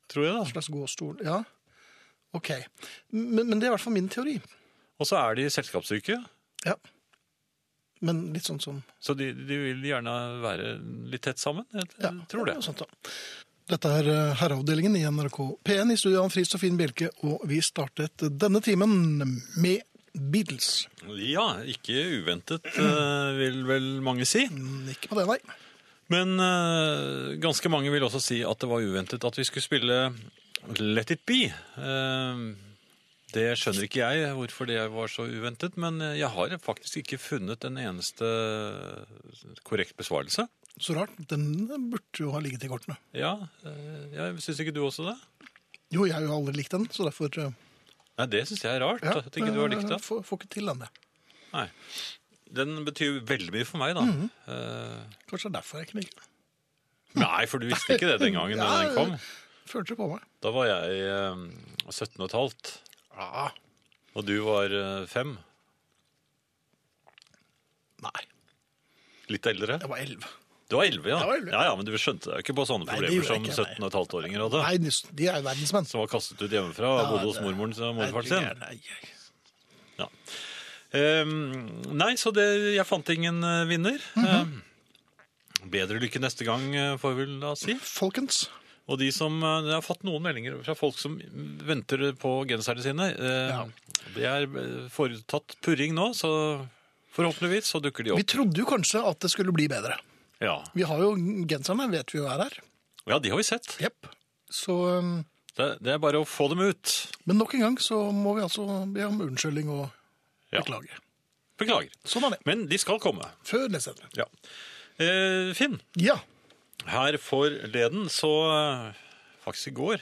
Tror jeg, da.
en slags gåstol. Ja, ok. Men, men det er i hvert fall min teori.
Og så er de selskapssyke.
Ja. Men litt sånn som
Så de, de vil gjerne være litt tett sammen? Jeg
Mm. Ja,
tror det.
noe sånt da. Dette er eh, Herreavdelingen i NRK P1 i studio av Fris og Finn Bjelke, og vi startet denne timen med Beatles.
Ja, ikke uventet, eh, vil vel mange si.
Mm, Ikke på det, nei.
Men eh, ganske mange vil også si at det var uventet at vi skulle spille Let it be. Eh, Det skjønner ikke jeg, hvorfor det var så uventet, men eh, jeg har faktisk ikke funnet en eneste korrekt besvarelse.
Så rart. Den burde jo ha ligget i kortene.
Ja, eh, jeg Syns ikke du også det?
Jo, jeg har jo aldri likt den, så derfor eh,
Nei, det syns jeg er rart.
ja,
at ikke du har likt det.
eh, Får, får ikke til den, jeg.
Nei. Den betyr veldig mye for meg, da.
Mhm.
Eh,
Kanskje det er derfor jeg ikke liker den.
Nei, for du visste ikke det den gangen da den kom.
Følte det på meg.
Da var jeg eh, 17 og et halvt,
Ja,
og du var eh, fem.
nei.
Litt eldre.
Jeg var elleve.
Du var 11, ja.
Jeg var 11.
Ja, ja, Men du skjønte deg ikke på sånne
Nei, det
problemer
gjorde
som
jeg ikke,
17 og et halvt-åringer hadde.
Nei, de er jo verdensmenn.
Som var kastet ut hjemmefra og
Ja,
bodde hos
det-
mormoren og morfaren sin.
Nei, jeg-
Ja. Ehm, nei, så det, jeg fant ingen eh, vinner.
Mhm.
Ehm, bedre lykke neste gang, eh, får vi vel da si.
Folkens,
Og de som eh, Jeg har fått noen meldinger fra folk som venter på genserne sine. Eh,
Ja.
Det er eh, foretatt purring nå, så forhåpentligvis så dukker
vi
de opp.
trodde jo kanskje at det skulle bli bedre.
Ja.
Vi har jo genserne, vet vi jo er her.
ja, de har vi sett.
Jepp. Så, um,
Det, det er bare å få dem ut.
men nok en gang så må vi altså be om unnskyldning og
Ja.
beklage.
Beklager.
Sånn er det.
Men de skal komme.
Før neste sending.
Ja. Eh, Finn,
Ja.
her forleden så eh, Faktisk i går.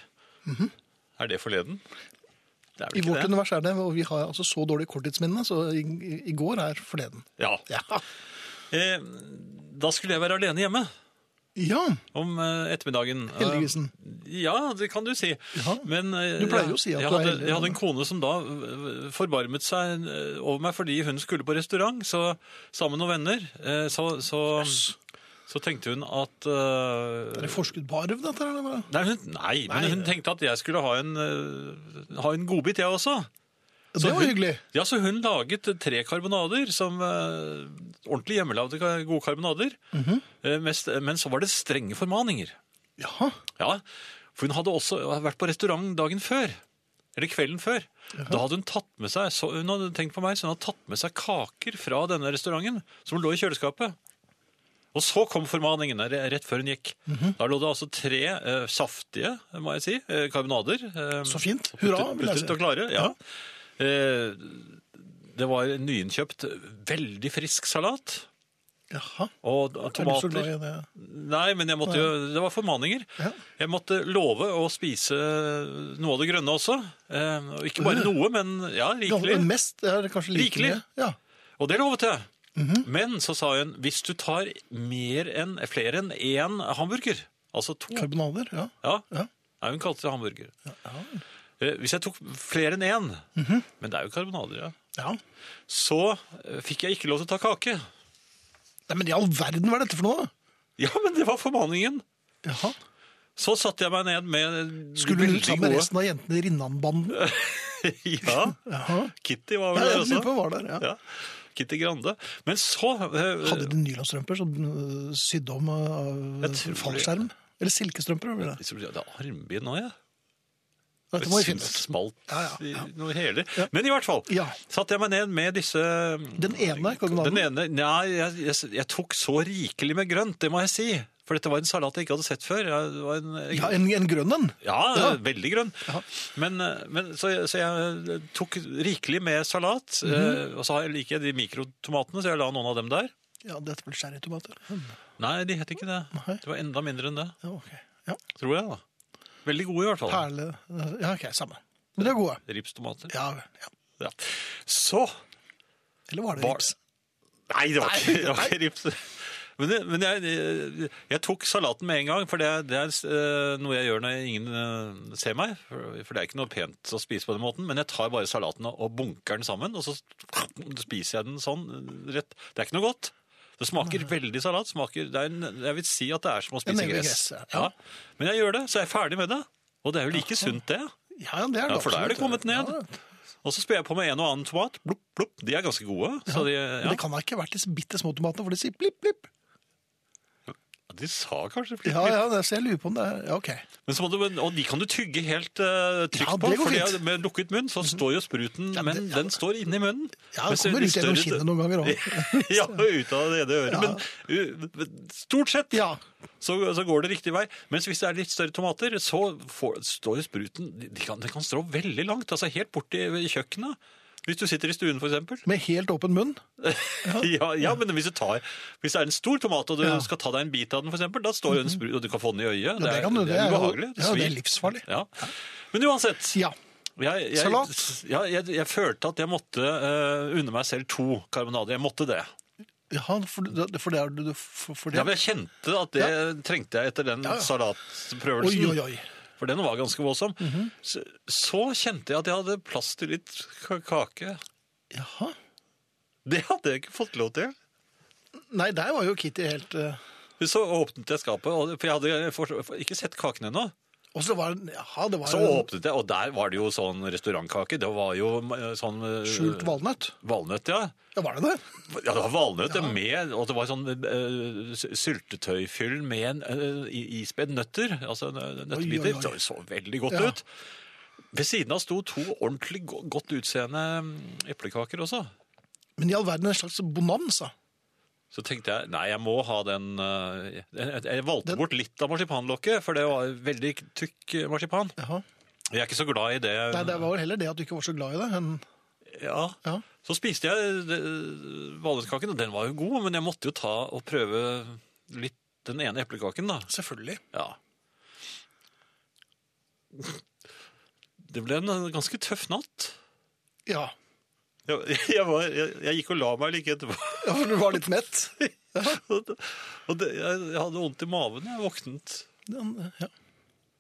Er det forleden? Det er
Mhm. I
vel
vårt
ikke det?
univers er det, og vi har altså så dårlig korttidsminne, så i, i- i går er forleden.
Ja.
Ja.
Eh, da skulle jeg være alene hjemme
Ja,
om eh, ettermiddagen.
heldigvisen.
Eh, ja, det kan du si.
Ja.
Men, eh,
Du pleier jo å si at
jeg
du er
hadde,
heldig.
Jeg hadde en kone som da eh, forbarmet seg eh, over meg fordi hun skulle på restaurant så, sammen med noen venner. eh, Så, så, så tenkte hun at eh,
Er det forskudd på arv, dette? her, Eller?
Nei, hun, nei, men hun tenkte at jeg skulle ha en, eh, ha en godbit, jeg
Ja,
også. Så
Det var
hun-
hyggelig.
Ja, så hun laget tre karbonader, som eh, ordentlig hjemmelagde ka- gode karbonader.
Mhm.
Eh, mest, men så var det strenge formaninger.
Jaha.
Ja, for hun hadde også vært på restaurant dagen før. Eller kvelden før. Da hadde hun tatt med seg, så hun hadde tenkt på meg, så hun hadde tatt med seg kaker fra denne restauranten, som lå i kjøleskapet. Og så kom formaningen der, rett før hun gikk.
Mhm.
Da lå det altså tre eh, saftige, må jeg si, eh, karbonader. eh,
Så fint. Hurra,
puttet-
vil jeg
puttet og
si.
klare, ja. Eh, det var en nyinnkjøpt, veldig frisk salat.
Jaha.
Og
Er du så glad
tomater.
i det?
Nei, men jeg måtte jo, det var formaninger.
Ja.
Jeg måtte love å spise noe av det grønne også. Eh, og ikke bare noe, men ja,
Ganske,
rikelig.
mest er det kanskje like
Rikelig.
mye. Ja.
Og det lovet jeg.
Mhm.
Men så sa hun, hvis du tar mer enn, flere enn én hamburger, altså to,
Karbonader. Ja.
ja,
Ja.
Nei, hun kalte det hamburger. Eh, hvis jeg tok flere enn én,
Mhm.
men det er jo karbonader, ja,
ja.
så eh, fikk jeg ikke lov til å ta kake.
Nei, men i all verden, hva er dette for noe? da?
Ja, men det var formaningen.
Jaha.
Så satte jeg meg ned med de
Skulle du
veldig
sammen med
gode-
resten av jentene i Rinnanbanden?
Ja,
Jaha.
Kitty
Ja,
var vel der
jeg
også.
lurer på hva det var der, ja.
Ja. Kitty Grande. Men så eh,
Hadde de nylandstrømper som øh, sydde om øh,
Jeg
av
tror det.
fallskjerm? Eller silkestrømper? var det det?
Jeg tror Det er armbind nå, jeg.
Dette må vi
synes
finne ut.
smalt
Ja, ja,
i noe hele.
Ja.
Men i hvert fall
Ja.
satte jeg meg ned med disse mm,
Den ene
Den
karbonaden?
ene Nei, jeg, jeg, jeg tok så rikelig med grønt, det må jeg si. For dette var en salat jeg ikke hadde sett før. Jeg, det var en,
Ja, en, en grønn en?
Ja,
Ja.
veldig grønn. Men, eh, men, så, jeg- så jeg tok rikelig med salat.
Mhm.
eh, Og så har jeg- liker jeg de mikrotomatene, så jeg la noen av dem der.
Ja, dette blir cherrytomater.
Nei, de het ikke det.
Nei.
Det var enda mindre enn det,
Ja, ok. Ja.
tror jeg. da. Veldig gode, i hvert fall.
Perle øh, Ja, ok, samme. Men de er gode.
Ripstomater.
Ja, ja.
Ja. Så
Eller var det
Var-
rips?
Nei, det var ikke, det var ikke rips. Men, det, men jeg, jeg tok salaten med en gang, for det, det er eh, noe jeg gjør når ingen eh, ser meg. For for det er ikke noe pent å spise på den måten. Men jeg tar bare salaten og bunker den sammen, og så spiser jeg den sånn eh, rett. Det er ikke noe godt. Det smaker veldig salat. Smaker, det er en, jeg vil si at det er som å
En
spise
evig
gress.
gress, ja.
Ja. Men jeg gjør det, så jeg er ferdig med det. Og det er jo like sunt, det.
Ja, ja, det er det
Ja, for da er det
absolutt.
kommet ned.
Ja,
Og så spiller jeg på med en og annen tomat. Blupp, blupp. De er ganske gode. Så de,
Men
ja.
det kan da ikke ha vært disse bitte små tomatene, for de sier blipp, blipp.
de sa kanskje flipp,
Ja,
flipp.
ja, det- så jeg lurer på om det er Ja, ok.
Men så må du, og de kan du tygge helt eh, trygt
Ja, det
på.
går
For de er
fint. Mhm.
med lukket munn så står jo spruten,
Ja, men
men
det-
den står inni munnen.
Ja, det
Mens
kommer
de
ut gjennom
større-
kinnet noen ganger òg.
ja, ut av det ene øret. Men uh, stort sett
Ja.
så, så går det riktig vei. Mens hvis det er litt større tomater, så får, står jo spruten de de kan, Den kan strå veldig langt, altså helt borti kjøkkenet. Hvis du sitter i stuen, for eksempel.
Med helt åpen munn.
Ja, ja, men hvis, du tar, hvis det er en stor tomat, og du
Ja. Mhm.
skal ta deg en bit av den, for eksempel, da står jo en sprut, og du kan få den i øyet.
det kan du,
det
det er
er
jo-
ubehagelig.
ja, det er
svir.
livsfarlig.
Ja. Men uansett,
Ja.
jeg, jeg,
Salat.
Ja, jeg, jeg følte at jeg måtte eh, unne meg selv to karbonader. Jeg måtte det.
ja for, det- for det er du for, for det.
Ja, men jeg kjente at det trengte jeg etter den
Ja, ja.
salatprøvelsen.
Oi, Mhm. oi, oi.
For den var ganske voldsom. så, så kjente jeg at jeg hadde plass til litt ka- kake.
Jaha.
Det hadde jeg ikke fått lov til.
Nei, der var jo Kitty helt eh,
Så åpnet jeg skapet, og- for jeg hadde for- for- ikke sett kaken ennå.
Og så var det Jaha, det var
Så
jo
åpnet jeg, og der var det jo sånn restaurantkake. Det var jo eh, sånn eh,
skjult valnøtt.
valnøtt, ja.
Ja, var det det?
Ja, det var valnøtt med, og det var sånn eh, s- syltetøyfyll med en, eh, i- ispedd nøtter, altså nø-
Oi, oi,
nøttebiter.
oi.
Det så veldig godt
Ja.
ut. Ved siden av sto to ordentlig go godt utseende mm, eplekaker også.
Men i all verden en slags bonanza.
Så tenkte jeg, nei, jeg må ha den, eh, jeg, jeg valgte
Den-
bort litt av marsipanlokket, for det var veldig tykk marsipan.
Jaha.
Jeg er ikke så glad i det.
Nei, det var vel heller det at du ikke var så glad i det. enn-
Ja.
ja.
Så spiste jeg eh, valnøttkaken, og den var jo god, men jeg måtte jo ta og prøve litt den ene eplekaken, da.
Selvfølgelig.
Ja. Det ble en ganske tøff natt.
Ja.
Jeg, jeg, var, jeg, jeg gikk og la meg like etterpå.
Ja, for du var litt mett.
Og det- og det, jeg, jeg hadde vondt i maven da jeg våknet.
Den- Ja,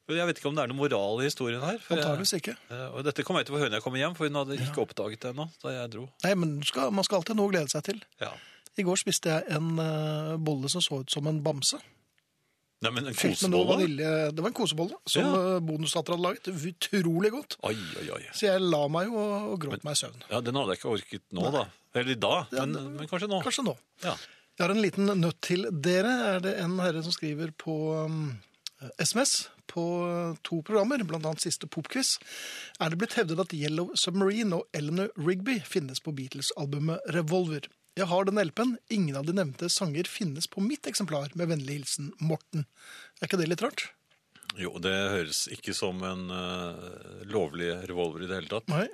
Jeg vet ikke om det er noe moral i historien her. for jeg-
Antakeligvis ikke.
Eh, Og dette kom jeg til å få høre når jeg kom hjem, for hun hadde ikke oppdaget det ennå da jeg dro.
Nei, men du skal, man skal alltid ha noe å glede seg til.
Ja.
I går spiste jeg en eh, bolle som så ut som en bamse.
Nei, men en
Fylt med noe
kosebolle?
vanilje. Det var en kosebolle som
Ja.
ja. bonusdatter hadde laget. Utrolig godt.
Oi, oi, oi.
Så jeg la meg jo og, og gråt meg i søvn.
Ja, den hadde jeg ikke orket nå, da. Eller da, men, men kanskje nå.
Kanskje nå.
Ja.
Jeg har en liten nøtt til dere. Er det en herre som skriver på um, SMS på uh, to programmer, bl.a. siste popquiz, er det blitt hevdet at Yellow Submarine og Eleanor Rigby finnes på Beatles-albumet Revolver. Jeg har den LP-en. Ingen av de nevnte sanger finnes på mitt eksemplar, med vennlig hilsen Morten. Er ikke det litt rart?
Jo, det høres ikke som en eh, lovlig revolver i det hele tatt.
Nei.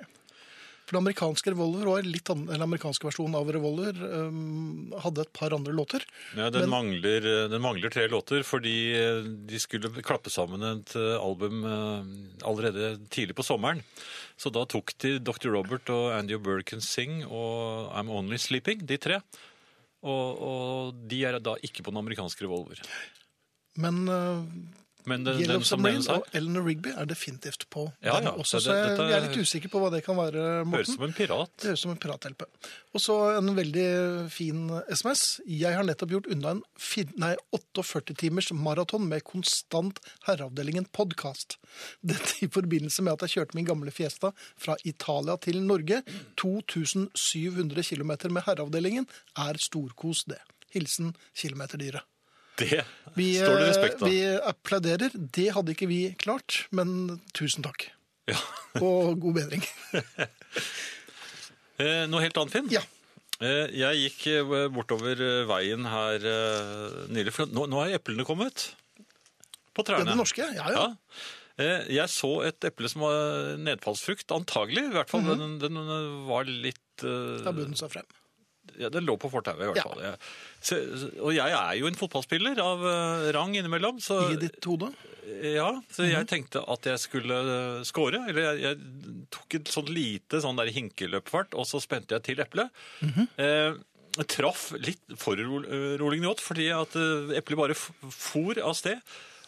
For den amerikanske revolver var litt annen, eller den amerikanske versjonen av revolver um, hadde et par andre låter.
Ja, den, mangler, eh, den mangler tre låter, fordi eh, de skulle klappe sammen et eh, album eh, allerede tidlig på sommeren. Så da tok de Dr. Robert og Andy O'Burkin Sing og I'm Only Sleeping, de tre. Og, og de er da ikke på den amerikanske revolver.
Men uh,
Men den,
Yellow
den som
Submarine
nevnes her,
og Eleanor Rigby er definitivt på
Ja,
den
ja.
også,
Det-
så jeg,
dette
jeg er litt usikker på hva det kan være,
høres
Morten.
som en pirat.
Det høres som en pirathjelpe. Og så en veldig fin SMS. Jeg har nettopp gjort unna en fir- nei, 48 timers maraton med konstant herreavdelingen podkast. Dette i forbindelse med at jeg kjørte min gamle Fiesta fra Italia til Norge. 2700 km med herreavdelingen er storkos, det. Hilsen kilometerdyret.
Det
Vi,
står det respekt
eh,
av.
vi applauderer. Det hadde ikke vi klart, men tusen takk.
Ja.
Og god bedring.
Eh, Noe helt annet, Finn?
Ja.
Eh, Jeg gikk eh, bortover eh, veien her eh, nylig, for nå, nå er eplene kommet på
Det
trærne.
er det norske. Ja, ja.
Ja. Eh, Jeg så et eple som var nedfallsfrukt, antagelig. I hvert fall
Mhm.
den, den var litt eh,
Da bunnen seg frem.
ja, Den lå på fortauet, i hvert
Ja.
fall. Jeg- Så, og jeg er jo en fotballspiller av eh, rang innimellom, så
I ditt hode.
ja, så
Mhm.
jeg tenkte at jeg skulle eh, score. Eller jeg, jeg tok et sånn lite sånn der hinkeløpfart, og så spente jeg til eplet.
Mhm.
eh, traff litt foruroligende godt, fordi at eh, eplet bare f- for av sted.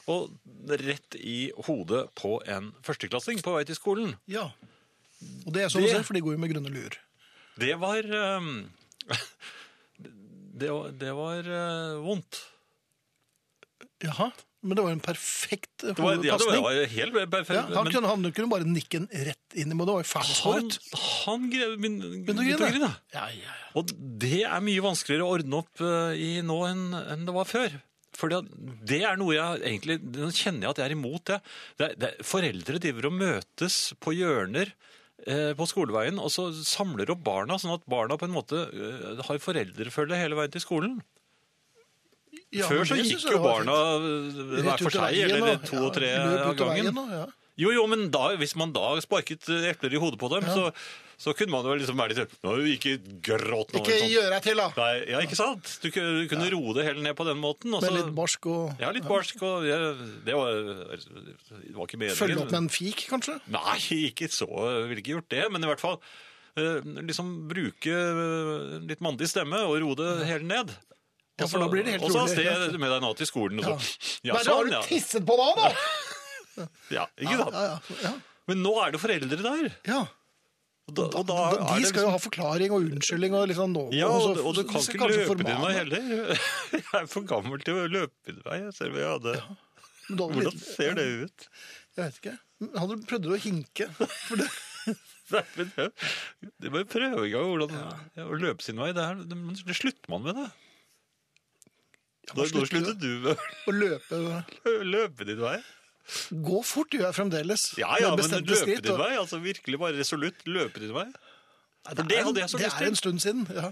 Og rett i hodet på en førsteklassing på vei til skolen.
Ja. Og det er sånn å
Det-
se, for de går jo med grønne luer.
Det var eh, det, var- det var eh, vondt.
Jaha. Men det var jo en perfekt
Det var,
pasning.
ja, det var det var helt perfekt.
Ja, han,
men-
kunne, han kunne bare nikke den rett inn i målet. Det var jo fælt
han,
håret.
han grev min,
Begynte å grine.
grine.
Ja, ja, ja.
Og det er mye vanskeligere å ordne opp eh, i nå enn, enn det var før. Fordi at det er noe jeg egentlig Nå kjenner jeg at jeg er imot det. det, er- det er- foreldre driver og møtes på hjørner eh, på skoleveien, og så samler opp barna, sånn at barna på en måte eh, har foreldrefølge hele veien til skolen.
ja
Før så gikk jo barna eh, hver for seg, eller to og tre av gangen.
Ja.
Jo, jo, men da, hvis man da sparket eh, epler i hodet på dem, så, så kunne man vel liksom være litt sånn Nå, ikke gråt nå.
Ikke
sånn.
gjør deg til, da!
Nei, ja, ikke sant? Du kunne du kunne roe det hele ned på den måten. og
Med
så-
litt barsk og
Ja, litt barsk. Og jeg, det, var, det var ikke meningen.
følge opp med en fik, kanskje.
Nei, ikke så. Jeg ville ikke gjort det. Men i hvert fall eh, liksom bruke eh, litt mandig stemme og roe det hele ned.
Ja, for da blir det helt
Og så av
rolig.
sted med deg nå til skolen. Og så.
Nei,
Ja,
da
sånn,
har
ja.
du tisset på meg, da!
ja. Ikke sant?
Ja, ja,
Men nå er det foreldre der.
ja.
Og da, og da
Da,
er
de
det liksom-
skal jo ha forklaring og unnskyldning og liksom nå
Ja, og, og du
så-
kan
så
ikke
kanskje
løpe din
formane.
vei heller. Jeg er for gammel til å løpe din vei. Jeg ser hva jeg hadde.
Men da hadde
Hvordan
blitt-
ser det ut?
Jeg vet ikke. Han prøvde å hinke. For det,
Nei, men det- Det må jo prøve en gang hvordan, ja, å løpe sin vei. Det, er, det, men det slutter man med, det.
Ja,
Når
man
når
slutter jo.
sluttet du med
å løpe
å løpe din vei?
Gå fort gjør jeg fremdeles.
Ja, ja,
Med
men
bestemte
løpe
skritt,
din
og-
vei? Altså virkelig bare resolutt løpe din vei?
Nei,
for
er
det
en-
hadde jeg så lyst
Det er
til.
en stund siden. ja.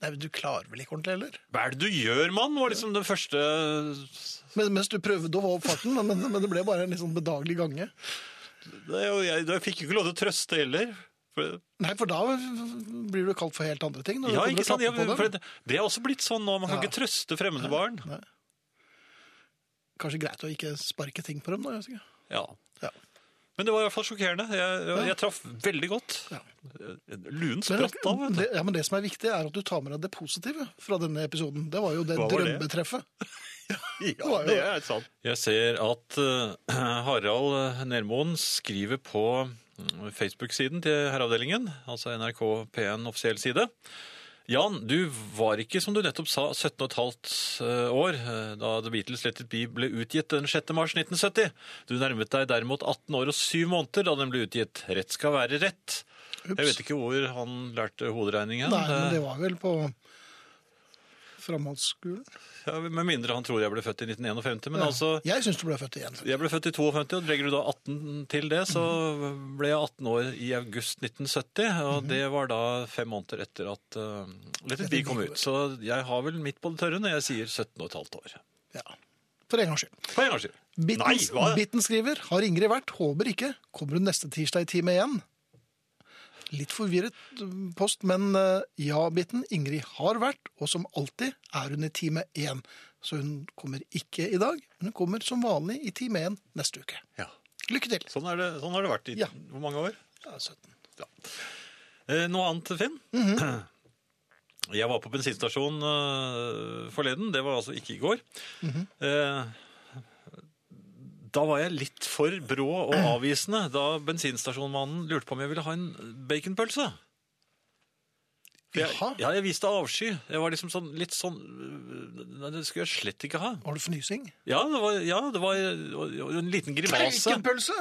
Nei, men Du klarer vel ikke ordentlig heller?
Hva er det du gjør, mann? var liksom den første
Men, mens du prøvde å få opp farten, men, men, men det ble bare en litt sånn bedagelig gange.
Det er jo- Jeg, jeg fikk jo ikke lov til å trøste heller. For
Nei, for da blir du kalt for helt andre ting. Når
Ja,
du kommer
ikke
og
sant? Ja,
klapper på
for
dem.
det, det er også blitt sånn nå. Man kan
Ja.
ikke trøste fremmede barn.
Nei. Kanskje greit å ikke sparke ting på dem, da. jeg vet ikke.
Ja.
Ja.
Men det var i hvert fall sjokkerende. Jeg, jeg, jeg traff veldig godt. Luen spratt av.
Men
vet du.
det, ja, men det som er viktig, er at du tar med deg det positive fra denne episoden. Det var jo det
Hva var det?
drømmetreffet.
Ja, det er sant.
Jeg ser at eh, Harald Nermoen skriver på mm, Facebook-siden til herreavdelingen, altså NRK P1 offisiell side. Jan, du var ikke, som du nettopp sa, 17 15 år eh, da The Beatles Let It Be ble utgitt den 6. mars 1970. Du nærmet deg derimot 18 år og 7 måneder da den ble utgitt. Rett skal være rett. Jeg vet ikke hvor han lærte hoderegningen.
Nei, men det var vel på framholdsskolen.
Eh, ja, med mindre han tror jeg ble født i 1951, men altså...
Jeg syns du ble født igjen.
Jeg ble født i 52, og legger du da 18 til det, så ble jeg 18 år i august 1970.
Mhm.
Og det var da fem måneder etter at uh, Let it be kom ut. Så jeg har vel midt på det tørre når jeg sier 17 og et halvt år.
Ja. For en gangs skyld.
For en gangs skyld. Nei,
Bitten
hva?
Bitten skriver har Ingrid vært, håper ikke. Kommer hun neste tirsdag i time igjen? Litt forvirret mm, post, men eh, ja, Bitten. Ingrid har vært, og som alltid er hun i time én. Så hun kommer ikke i dag, men hun kommer som vanlig i time én neste uke.
Ja.
Lykke til.
Sånn, er det, sånn har det vært i
Ja.
hvor mange år?
Ja, 17.
Eh, noe annet, Finn?
Mhm.
Jeg var på bensinstasjon eh, forleden. Det var altså ikke i går.
Mhm.
eh, da var jeg litt for brå og avvisende da bensinstasjonmannen lurte på om jeg ville ha en baconpølse. For Jeg,
Jaha.
ja, jeg viste avsky. Jeg var liksom sånn, litt sånn eh, Nei, det skulle jeg slett ikke ha.
Var det fnysing?
Ja, det var, ja, det var eh, en liten grimase.
Baconpølse!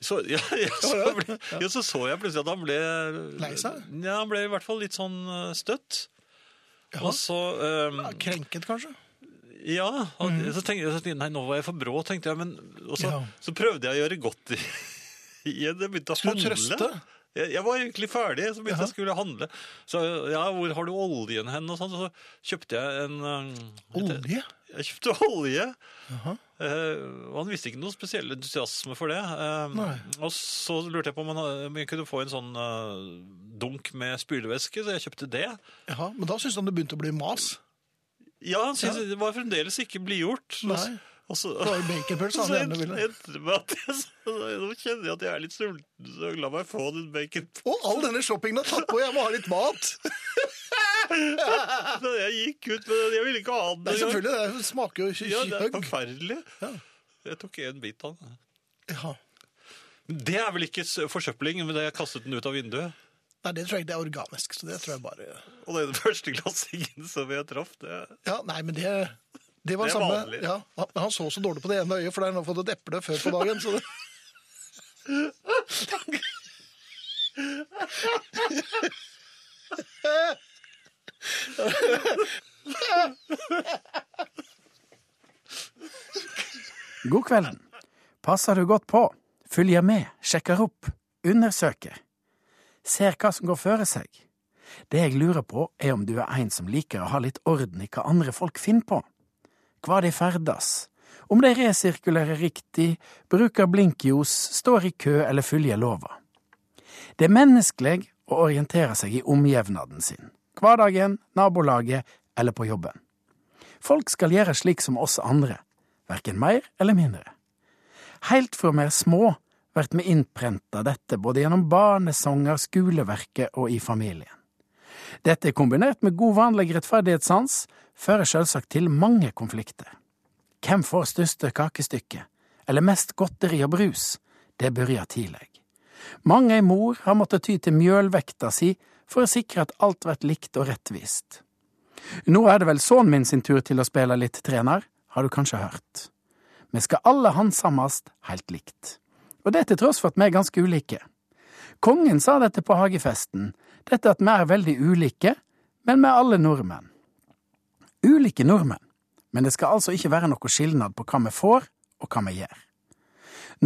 Så, ja, ja, så, ble, ja, så så jeg plutselig at han ble
Lei seg?
Ja, han ble i hvert fall litt sånn eh, støtt.
Ja.
Og så eh,
Krenket, kanskje?
Ja. Og, så tenkte jeg så tenkte jeg, Nei, nå var jeg for brå, tenkte jeg. Men, og så,
Ja.
så prøvde jeg å gjøre godt i, i det. Jeg begynte å
Skulle du
handle.
trøste?
Jeg, jeg var egentlig ferdig, så begynte jeg skulle handle. Så ja, hvor har du oljen hen? Og sånn. Så kjøpte jeg en eh,
Olje?
Jeg kjøpte olje.
Jaha.
Eh, og han visste ikke noe spesiell entusiasme for det. Eh,
Nei.
og så lurte jeg på om han om jeg kunne få en sånn eh, dunk med spylevæske, så jeg kjøpte det.
Jaha, men da syntes han det begynte å bli mas.
Ja, han syntes det var fremdeles ikke blidgjort. Og så-
Nei.
Og så,
Det var jo baconpølse han
så
gjerne
endte
ville.
endte det med at jeg så- Nå kjenner jeg at jeg er litt sulten, så la meg få den bacon.
Og all denne shoppingen har tatt på, jeg må ha litt mat!
Så jeg gikk ut med den. Jeg ville ikke ha den.
Nei, selvfølgelig, det smaker jo
Ja, det er
kyhøgg.
forferdelig. Jeg tok én bit av den.
Ja.
Men Det er vel ikke s- forsøpling, men jeg kastet den ut av vinduet.
Nei, det tror jeg ikke er organisk, så det tror jeg bare
Og den førsteklassingen som jeg traff, det
Ja, nei, men det det var det
Det er
samme.
vanlig.
Ja, han- han så så dårlig på det ene øyet, for der har han fått et eple før på dagen. Så det...
God kvelden. Passer du godt på? Følger med, sjekker opp, undersøker. Ser hva som går føre seg. Det jeg lurer på, er om du er en som liker å ha litt orden i hva andre folk finner på. Hva de ferdes. Om de resirkulerer riktig, bruker blinklys, står i kø eller følger lova. Det er menneskelig å orientere seg i omjevnaden sin. Hverdagen, nabolaget eller på jobben. Folk skal gjøre slik som oss andre, verken mer eller mindre. Heilt fra vi er små, vert vi innprenta dette både gjennom barnesanger, skoleverket og i familien. Dette er kombinert med god vanlig rettferdighetssans, fører sjølsagt til mange konflikter. Hvem får største kakestykke, eller mest godteri og brus? Det begynner tidlig. Mange ei mor har måttet ty til mjølvekta si for å sikre at alt vert likt og rettvist. Nå er det vel sønnen min sin tur til å spille litt trener, har du kanskje hørt. Vi skal alle handsamast heilt likt. Og det til tross for at vi er ganske ulike. Kongen sa dette på hagefesten, dette at vi er veldig ulike, men vi er alle nordmenn. Ulike nordmenn, men det skal altså ikke være noe skilnad på hva vi får og hva vi gjør.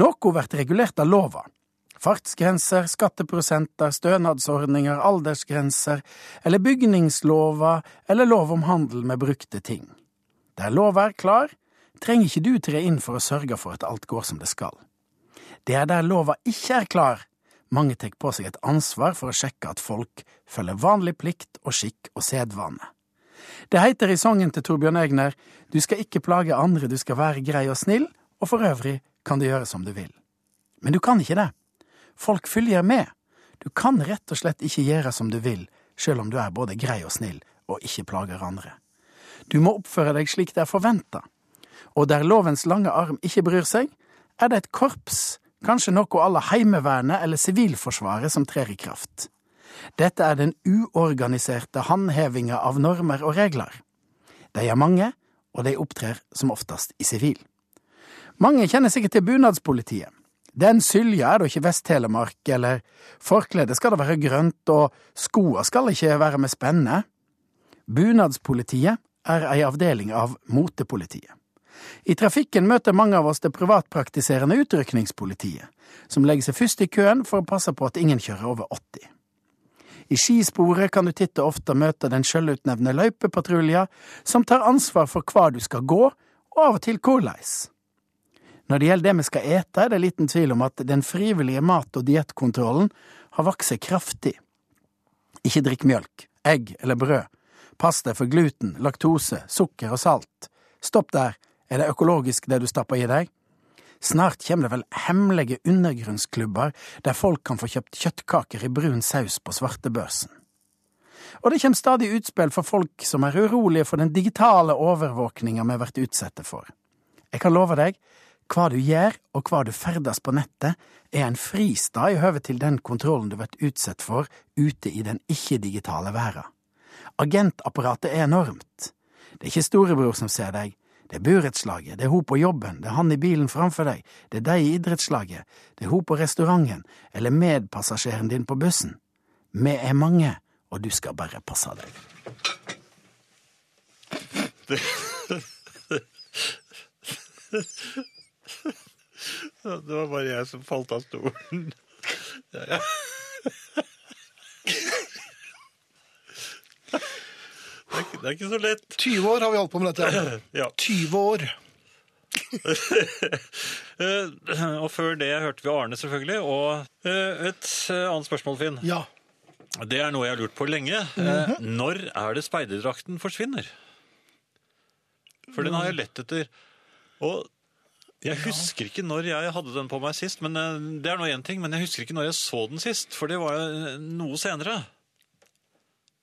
Noe blir regulert av lova. Fartsgrenser, skatteprosenter, stønadsordninger, aldersgrenser, eller bygningslova, eller lov om handel med brukte ting. Der lova er klar, trenger ikke du tre inn for å sørge for at alt går som det skal. Det er der lova ikke er klar, mange tar på seg et ansvar for å sjekke at folk følger vanlig plikt og skikk og sedvane. Det heter i sangen til Torbjørn Egner Du skal ikke plage andre, du skal være grei og snill, og for øvrig kan du gjøre som du vil. Men du kan ikke det. Folk følger med. Du kan rett og slett ikke gjøre som du vil, sjøl om du er både grei og snill og ikke plager andre. Du må oppføre deg slik det er forventa. Og der lovens lange arm ikke bryr seg, er det et korps, kanskje noe à la Heimevernet eller Sivilforsvaret som trer i kraft. Dette er den uorganiserte håndhevinga av normer og regler. De er mange, og de opptrer som oftest i sivil. Mange kjenner sikkert til bunadspolitiet. Den sylja er da ikke Vest-Telemark, eller forkledet skal det være grønt, og skoa skal ikke være med spenne. Bunadspolitiet er ei avdeling av motepolitiet. I trafikken møter mange av oss det privatpraktiserende utrykningspolitiet, som legger seg først i køen for å passe på at ingen kjører over 80. I skisporet kan du titt og ofte møte den sjølutnevnte løypepatrulja, som tar ansvar for hva du skal gå, og av og til korleis. Når det gjelder det vi skal ete, er det liten tvil om at den frivillige mat- og diettkontrollen har vokst seg kraftig. Ikke drikk mjølk, egg eller brød. Pass deg for gluten, laktose, sukker og salt. Stopp der, er det økologisk det du stapper i deg? Snart kommer det vel hemmelige undergrunnsklubber der folk kan få kjøpt kjøttkaker i brun saus på svartebørsen. Og det kommer stadig utspill for folk som er urolige for den digitale overvåkninga vi blir utsatt for. Jeg kan love deg, hva du gjør og hva du ferdes på nettet, er en fristad i høve til den kontrollen du blir utsatt for ute i den ikke-digitale verden. Agentapparatet er enormt. Det er ikke storebror som ser deg, det er burettslaget, det er hun på jobben, det er han i bilen framfor deg, det er deg i idrettslaget, det er hun på restauranten, eller medpassasjeren din på bussen. Vi er mange, og du skal bare passe deg.
Det var bare jeg som falt av stolen. Ja, ja. Det er, ikke- det er ikke så lett.
20 år har vi holdt på med dette.
Ja.
20 år.
Eh, Og før det hørte vi Arne, selvfølgelig. Og eh, et eh, annet spørsmål, Finn.
Ja.
Det er noe jeg har lurt på lenge. Eh, Når er det speiderdrakten forsvinner? For den har jeg lett etter. Og jeg husker ikke når jeg hadde den på meg sist. men eh, Det er nå én ting, men jeg husker ikke når jeg så den sist, for det var eh, noe senere.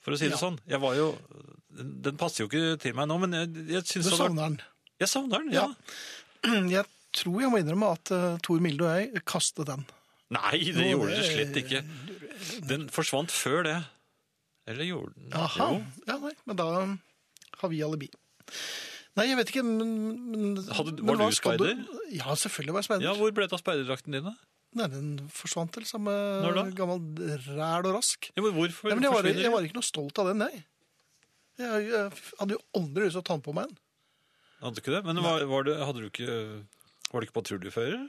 For å si det sånn. Jeg var jo Den passer jo ikke til meg nå, men jeg, jeg
Du
syns det hadde vært-
savner den.
Jeg savner den, ja.
Ja. Jeg tror jeg må innrømme at uh, Tor Milde og jeg kastet den.
Nei, det
Jo,
gjorde
det-
det slett ikke. Den forsvant før det. Eller gjorde den
Aha.
Jo.
Ja, nei, men da um, har vi alibi. Nei, jeg vet ikke, men, men
Hadde-
men
var
hva
du
skal
speider?
Ja, selvfølgelig var jeg speider.
Ja, Hvor ble det av speiderdrakten din, da?
Nei, den forsvant til samme
Når da?
gammel ræl og rask.
Ja, men hvorfor
Nei, men jeg var,
forsvinner
jeg var ikke noe stolt av den, nei. Jeg, jeg hadde jo aldri lyst til å ta den på meg en.
Hadde du ikke det? Men var, var, det, hadde du ikke, var du ikke patruljefører?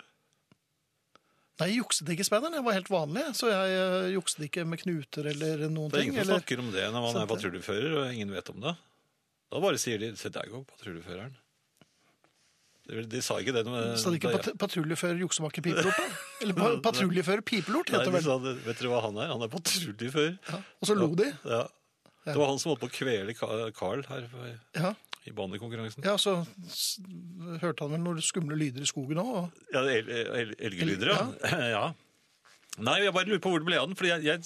Nei, jeg jukset ikke speideren. Jeg var helt vanlig. Så jeg eh, jukset ikke med knuter eller noen
Det er
ting.
ingen som
Eller...
snakker om det når man
Sant
er
det.
patruljefører, og ingen vet om det. Da bare sier de 'se der går patruljeføreren'. De, de sa ikke eh, det med
Så hadde ikke
da
pat patruljefører juksemaker pipelort, da? Eller pa patruljefører pipelort,
jeg-
heter
Nei,
det
de
vel.
sa det. Vet dere hva han er? Han er patruljefører.
Ja. Og så lo de.
Ja. Det var han som holdt på å kvele Ka- Carl her på-
Ja,
i bandykonkurransen.
ja så s- hørte han vel noen skumle lyder i skogen òg. Og...
Ja, el- el- elgelyder, ja. ja. Nei, jeg bare lurer på hvor det ble av den, for jeg, jeg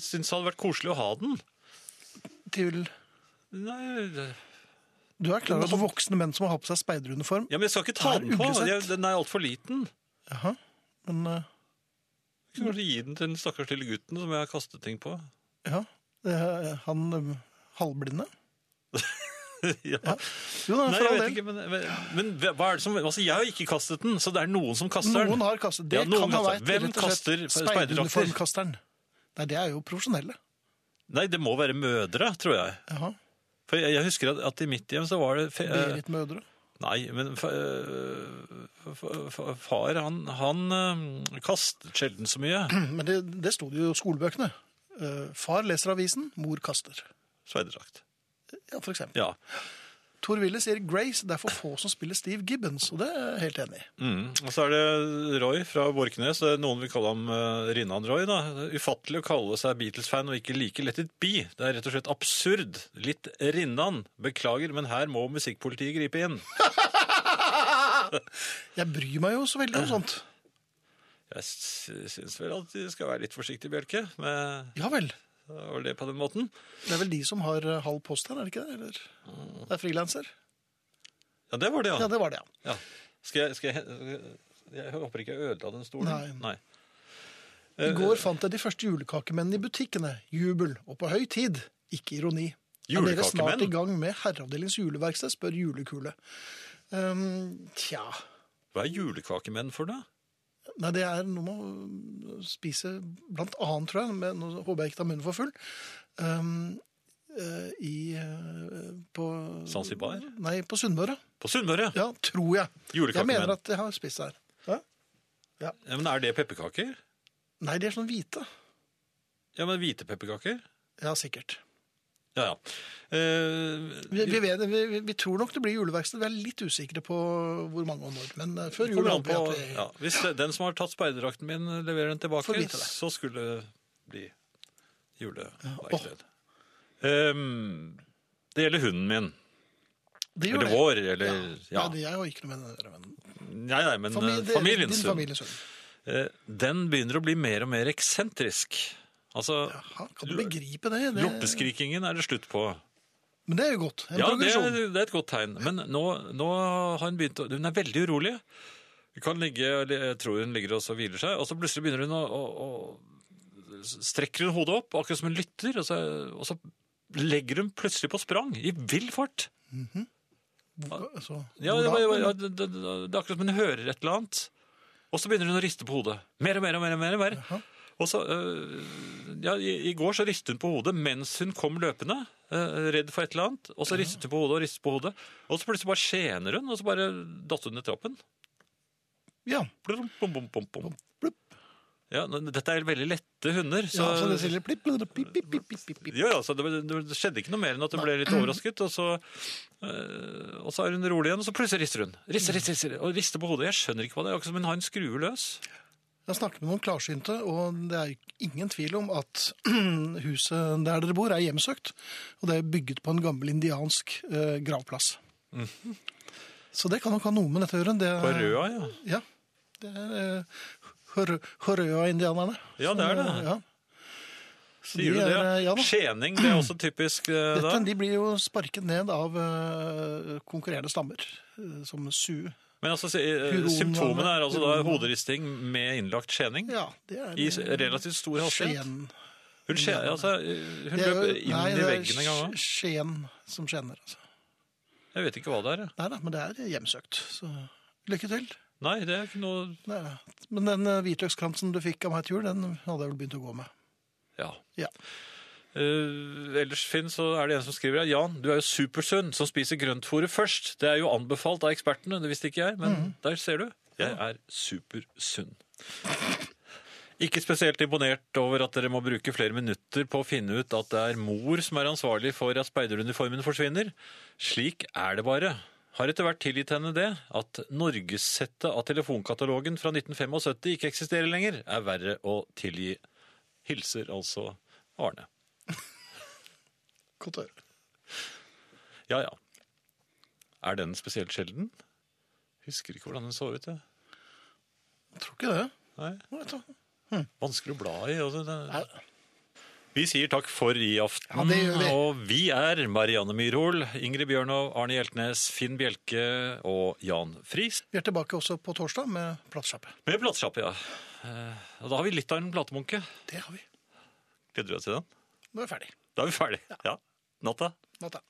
syns det hadde vært koselig å ha den.
Til...
Nei,
Du er klar over at voksne menn som har på seg speideruniform
ja, men jeg skal ikke ta
Det er
den på.
uglesett.
Jeg, den er altfor liten.
Jaha, men eh,
Jeg kan kanskje gi den til den stakkars lille gutten som jeg har kastet ting på.
ja, det er han eh, halvblinde?
ja.
Jo da,
Nei,
for
jeg
all
vet
del.
ikke, men, men hva er det som Altså, jeg har ikke kastet den, så det er noen som kaster den.
Noen har kastet. Det
Ja, noen
kan ha
kaster.
vært rett
Hvem
og slett
kaster speiderdrakter?
speideruniformkasteren. Nei, det er jo profesjonelle.
Nei, det må være mødre, tror jeg.
Jaha.
For jeg, jeg husker at, at i mitt hjem så var det fe, eh,
Berit Mødre.
Nei, men fa- eh, fa- fa- far, han, han eh, kastet sjelden så mye.
Men det, det sto det jo i skolebøkene. Eh, Far leser avisen, mor kaster.
Sveiderdrakt.
Ja, for eksempel.
Ja.
Tor Wille sier Grace, det er for få som spiller Steve Gibbons, og det er jeg helt enig i.
Mm. Og så er det Roy fra Borknes. eh, Noen vil kalle ham eh, Rinnan-Roy. da. Ufattelig å kalle seg Beatles-fan og ikke like Let It Be. Det er rett og slett absurd. Litt Rinnan. Beklager, men her må musikkpolitiet gripe inn.
Jeg bryr meg jo så veldig om sånt.
Jeg sy- syns vel at de skal være litt forsiktige, Bjelke, med
Ja vel.
å le på den måten.
Det er vel de som har eh, halv post her, er det ikke det? Eller? Det er frilanser?
Ja, det var det, ja.
Ja, det var det, ja.
Ja. Skal jeg, skal jeg, jeg håper ikke jeg ødela den stolen.
Nei. I
Eh,
går fant jeg de første julekakemennene i butikkene. Jubel. Og på høy tid. Ikke ironi. Er dere snart i
Julekakemenn?
gang med Herreavdelingens juleverksted? spør Julekule. Ehm, tja
Hva er julekakemenn for noe?
Nei, det er noe med å spise blant annet, tror jeg. Men nå håper jeg ikke tar munnen for full. Ehm, eh, I eh, på
Zanzibar?
Nei, på Sunnmøre.
På Sunnmøre?
Ja, tror jeg. Jeg mener
Julekakemenn.
at jeg har spist det her.
Ja, men er det pepperkaker?
Nei, de er sånn hvite.
Ja, men hvite pepperkaker?
Ja, sikkert.
Ja, ja. Eh,
Vi, vi, vet, vi, vi- vi tror nok det blir juleverksted. Vi er litt usikre på hvor mange og når. Men eh, før jul
kommer an
håper
på,
jeg at vi
ja, hvis den som har tatt speiderdrakten min leverer den tilbake,
Får vite det.
så skulle det bli juleverksted. Ehm, det gjelder hunden min.
Det gjør
Eller
det.
vår, eller ja. eh,
Nei, det- jeg har ikke noe med det å gjøre. men-
Nei, nei, men
Famili-
eh,
det-
familiens
Din
hund.
families hund.
Eh, Den begynner å bli mer og mer eksentrisk. Altså,
Jaha, kan du begripe det? det
loppeskrikingen er det slutt på.
men det er jo godt. En
Ja, det er,
progresjon.
det er et godt tegn. Men nå, nå har hun begynt å Hun er veldig urolig. Hun kan ligge, jeg tror hun ligger og så hviler seg, og så plutselig begynner hun å, å, å Strekker hun hodet opp, akkurat som hun lytter, og så, og så legger hun plutselig på sprang i vill fart.
Hvor- altså,
Ja,
hvor
det,
da?
var- ja, det, det, det er akkurat som hun hører et eller annet. Og så begynner hun å riste på hodet. Mer og mer og mer. og mer, og mer. Og så, øh, ja, i, I går så ristet hun på hodet mens hun kom løpende, øh, redd for et eller annet. Og så ristet hun på hodet og ristet på hodet. Og så plutselig bare skjener hun, og så bare datt hun ned trappen.
ja.
Blum, bom, bom, bom, bom. Ja, men Dette er veldig lette hunder. Så,
ja, så det sier plipp, plipp, plipp, plipp, plipp, plipp, plipp.
ja, ja, så det, det skjedde ikke noe mer enn at hun ble litt overrasket, og så, øh, og så er hun rolig igjen, og så plutselig rister hun. Rister, rister, rister, og rister på hodet. Jeg skjønner ikke hva det er, akkurat som hun har en skrue løs.
Jeg snakket med noen klarsynte, og det er ingen tvil om at huset der dere bor er hjemsøkt, og det er bygget på en gammel indiansk eh, gravplass. Så det kan nok ha noe med dette å gjøre. Det er,
Mm. På røda, ja.
Ja, det er eh, Hor- Horøa-indianerne.
Ja, det er det.
Som, eh, Ja. Så
Sier
de
du det?
er, eh, Ja, da.
Skjening, det er også typisk eh, da.
Dette, de blir jo sparket ned av eh, konkurrerende stammer, eh, som Su.
Men altså, si- eh,
Huron-
symptomene er altså da
Huron-
hoderisting med innlagt skjening
Ja, det er eh,
i s- relativt stor hastighet.
Skien.
Hun, skje, altså, eh, hun
Det er
løp
jo-
inn
nei,
i
det er
veggen en gang. også.
Skien som skjener, altså.
Jeg vet ikke hva det er. jeg.
Nei da, men det er hjemsøkt. Så lykke til.
Nei, det er ikke noe...
Nei, da. men den eh, hvitløkskransen du fikk av meg til jul, den hadde jeg vel begynt å gå med.
Ja.
Ja.
Eh, ellers, Finn, så er det en som skriver her, Jan, du er jo supersunn som spiser grøntfôret først. Det er jo anbefalt av ekspertene, det visste ikke jeg, men der ser du. Jeg er supersunn. Ikke spesielt imponert over at dere må bruke flere minutter på å finne ut at det er mor som er ansvarlig for at speideruniformen forsvinner. Slik er det bare. Har etter hvert tilgitt henne det at norgessettet av telefonkatalogen fra 1975 ikke eksisterer lenger, er verre å tilgi. Hilser altså Arne.
Godt å høre.
Ja, ja. Er den spesielt sjelden? Husker ikke hvordan den så ut. Jeg.
Jeg tror ikke det.
Nei,
Nå, vet du.
Vanskelig å bla i. Altså, det...
Nei.
Vi sier takk for i aften.
Ja, det gjør vi.
Og vi er Marianne Myrhol, Ingrid Bjørnov, Arne Hjeltnes, Finn Bjelke og Jan Friis.
Vi er tilbake også på torsdag med platesjappe.
Med platesjappe, ja. Eh, Og da har vi litt av en platemunke.
Det har vi.
Gleder du deg til den?
Nå er vi ferdig.
Da er vi ferdig. Ja. Natta.
Natta.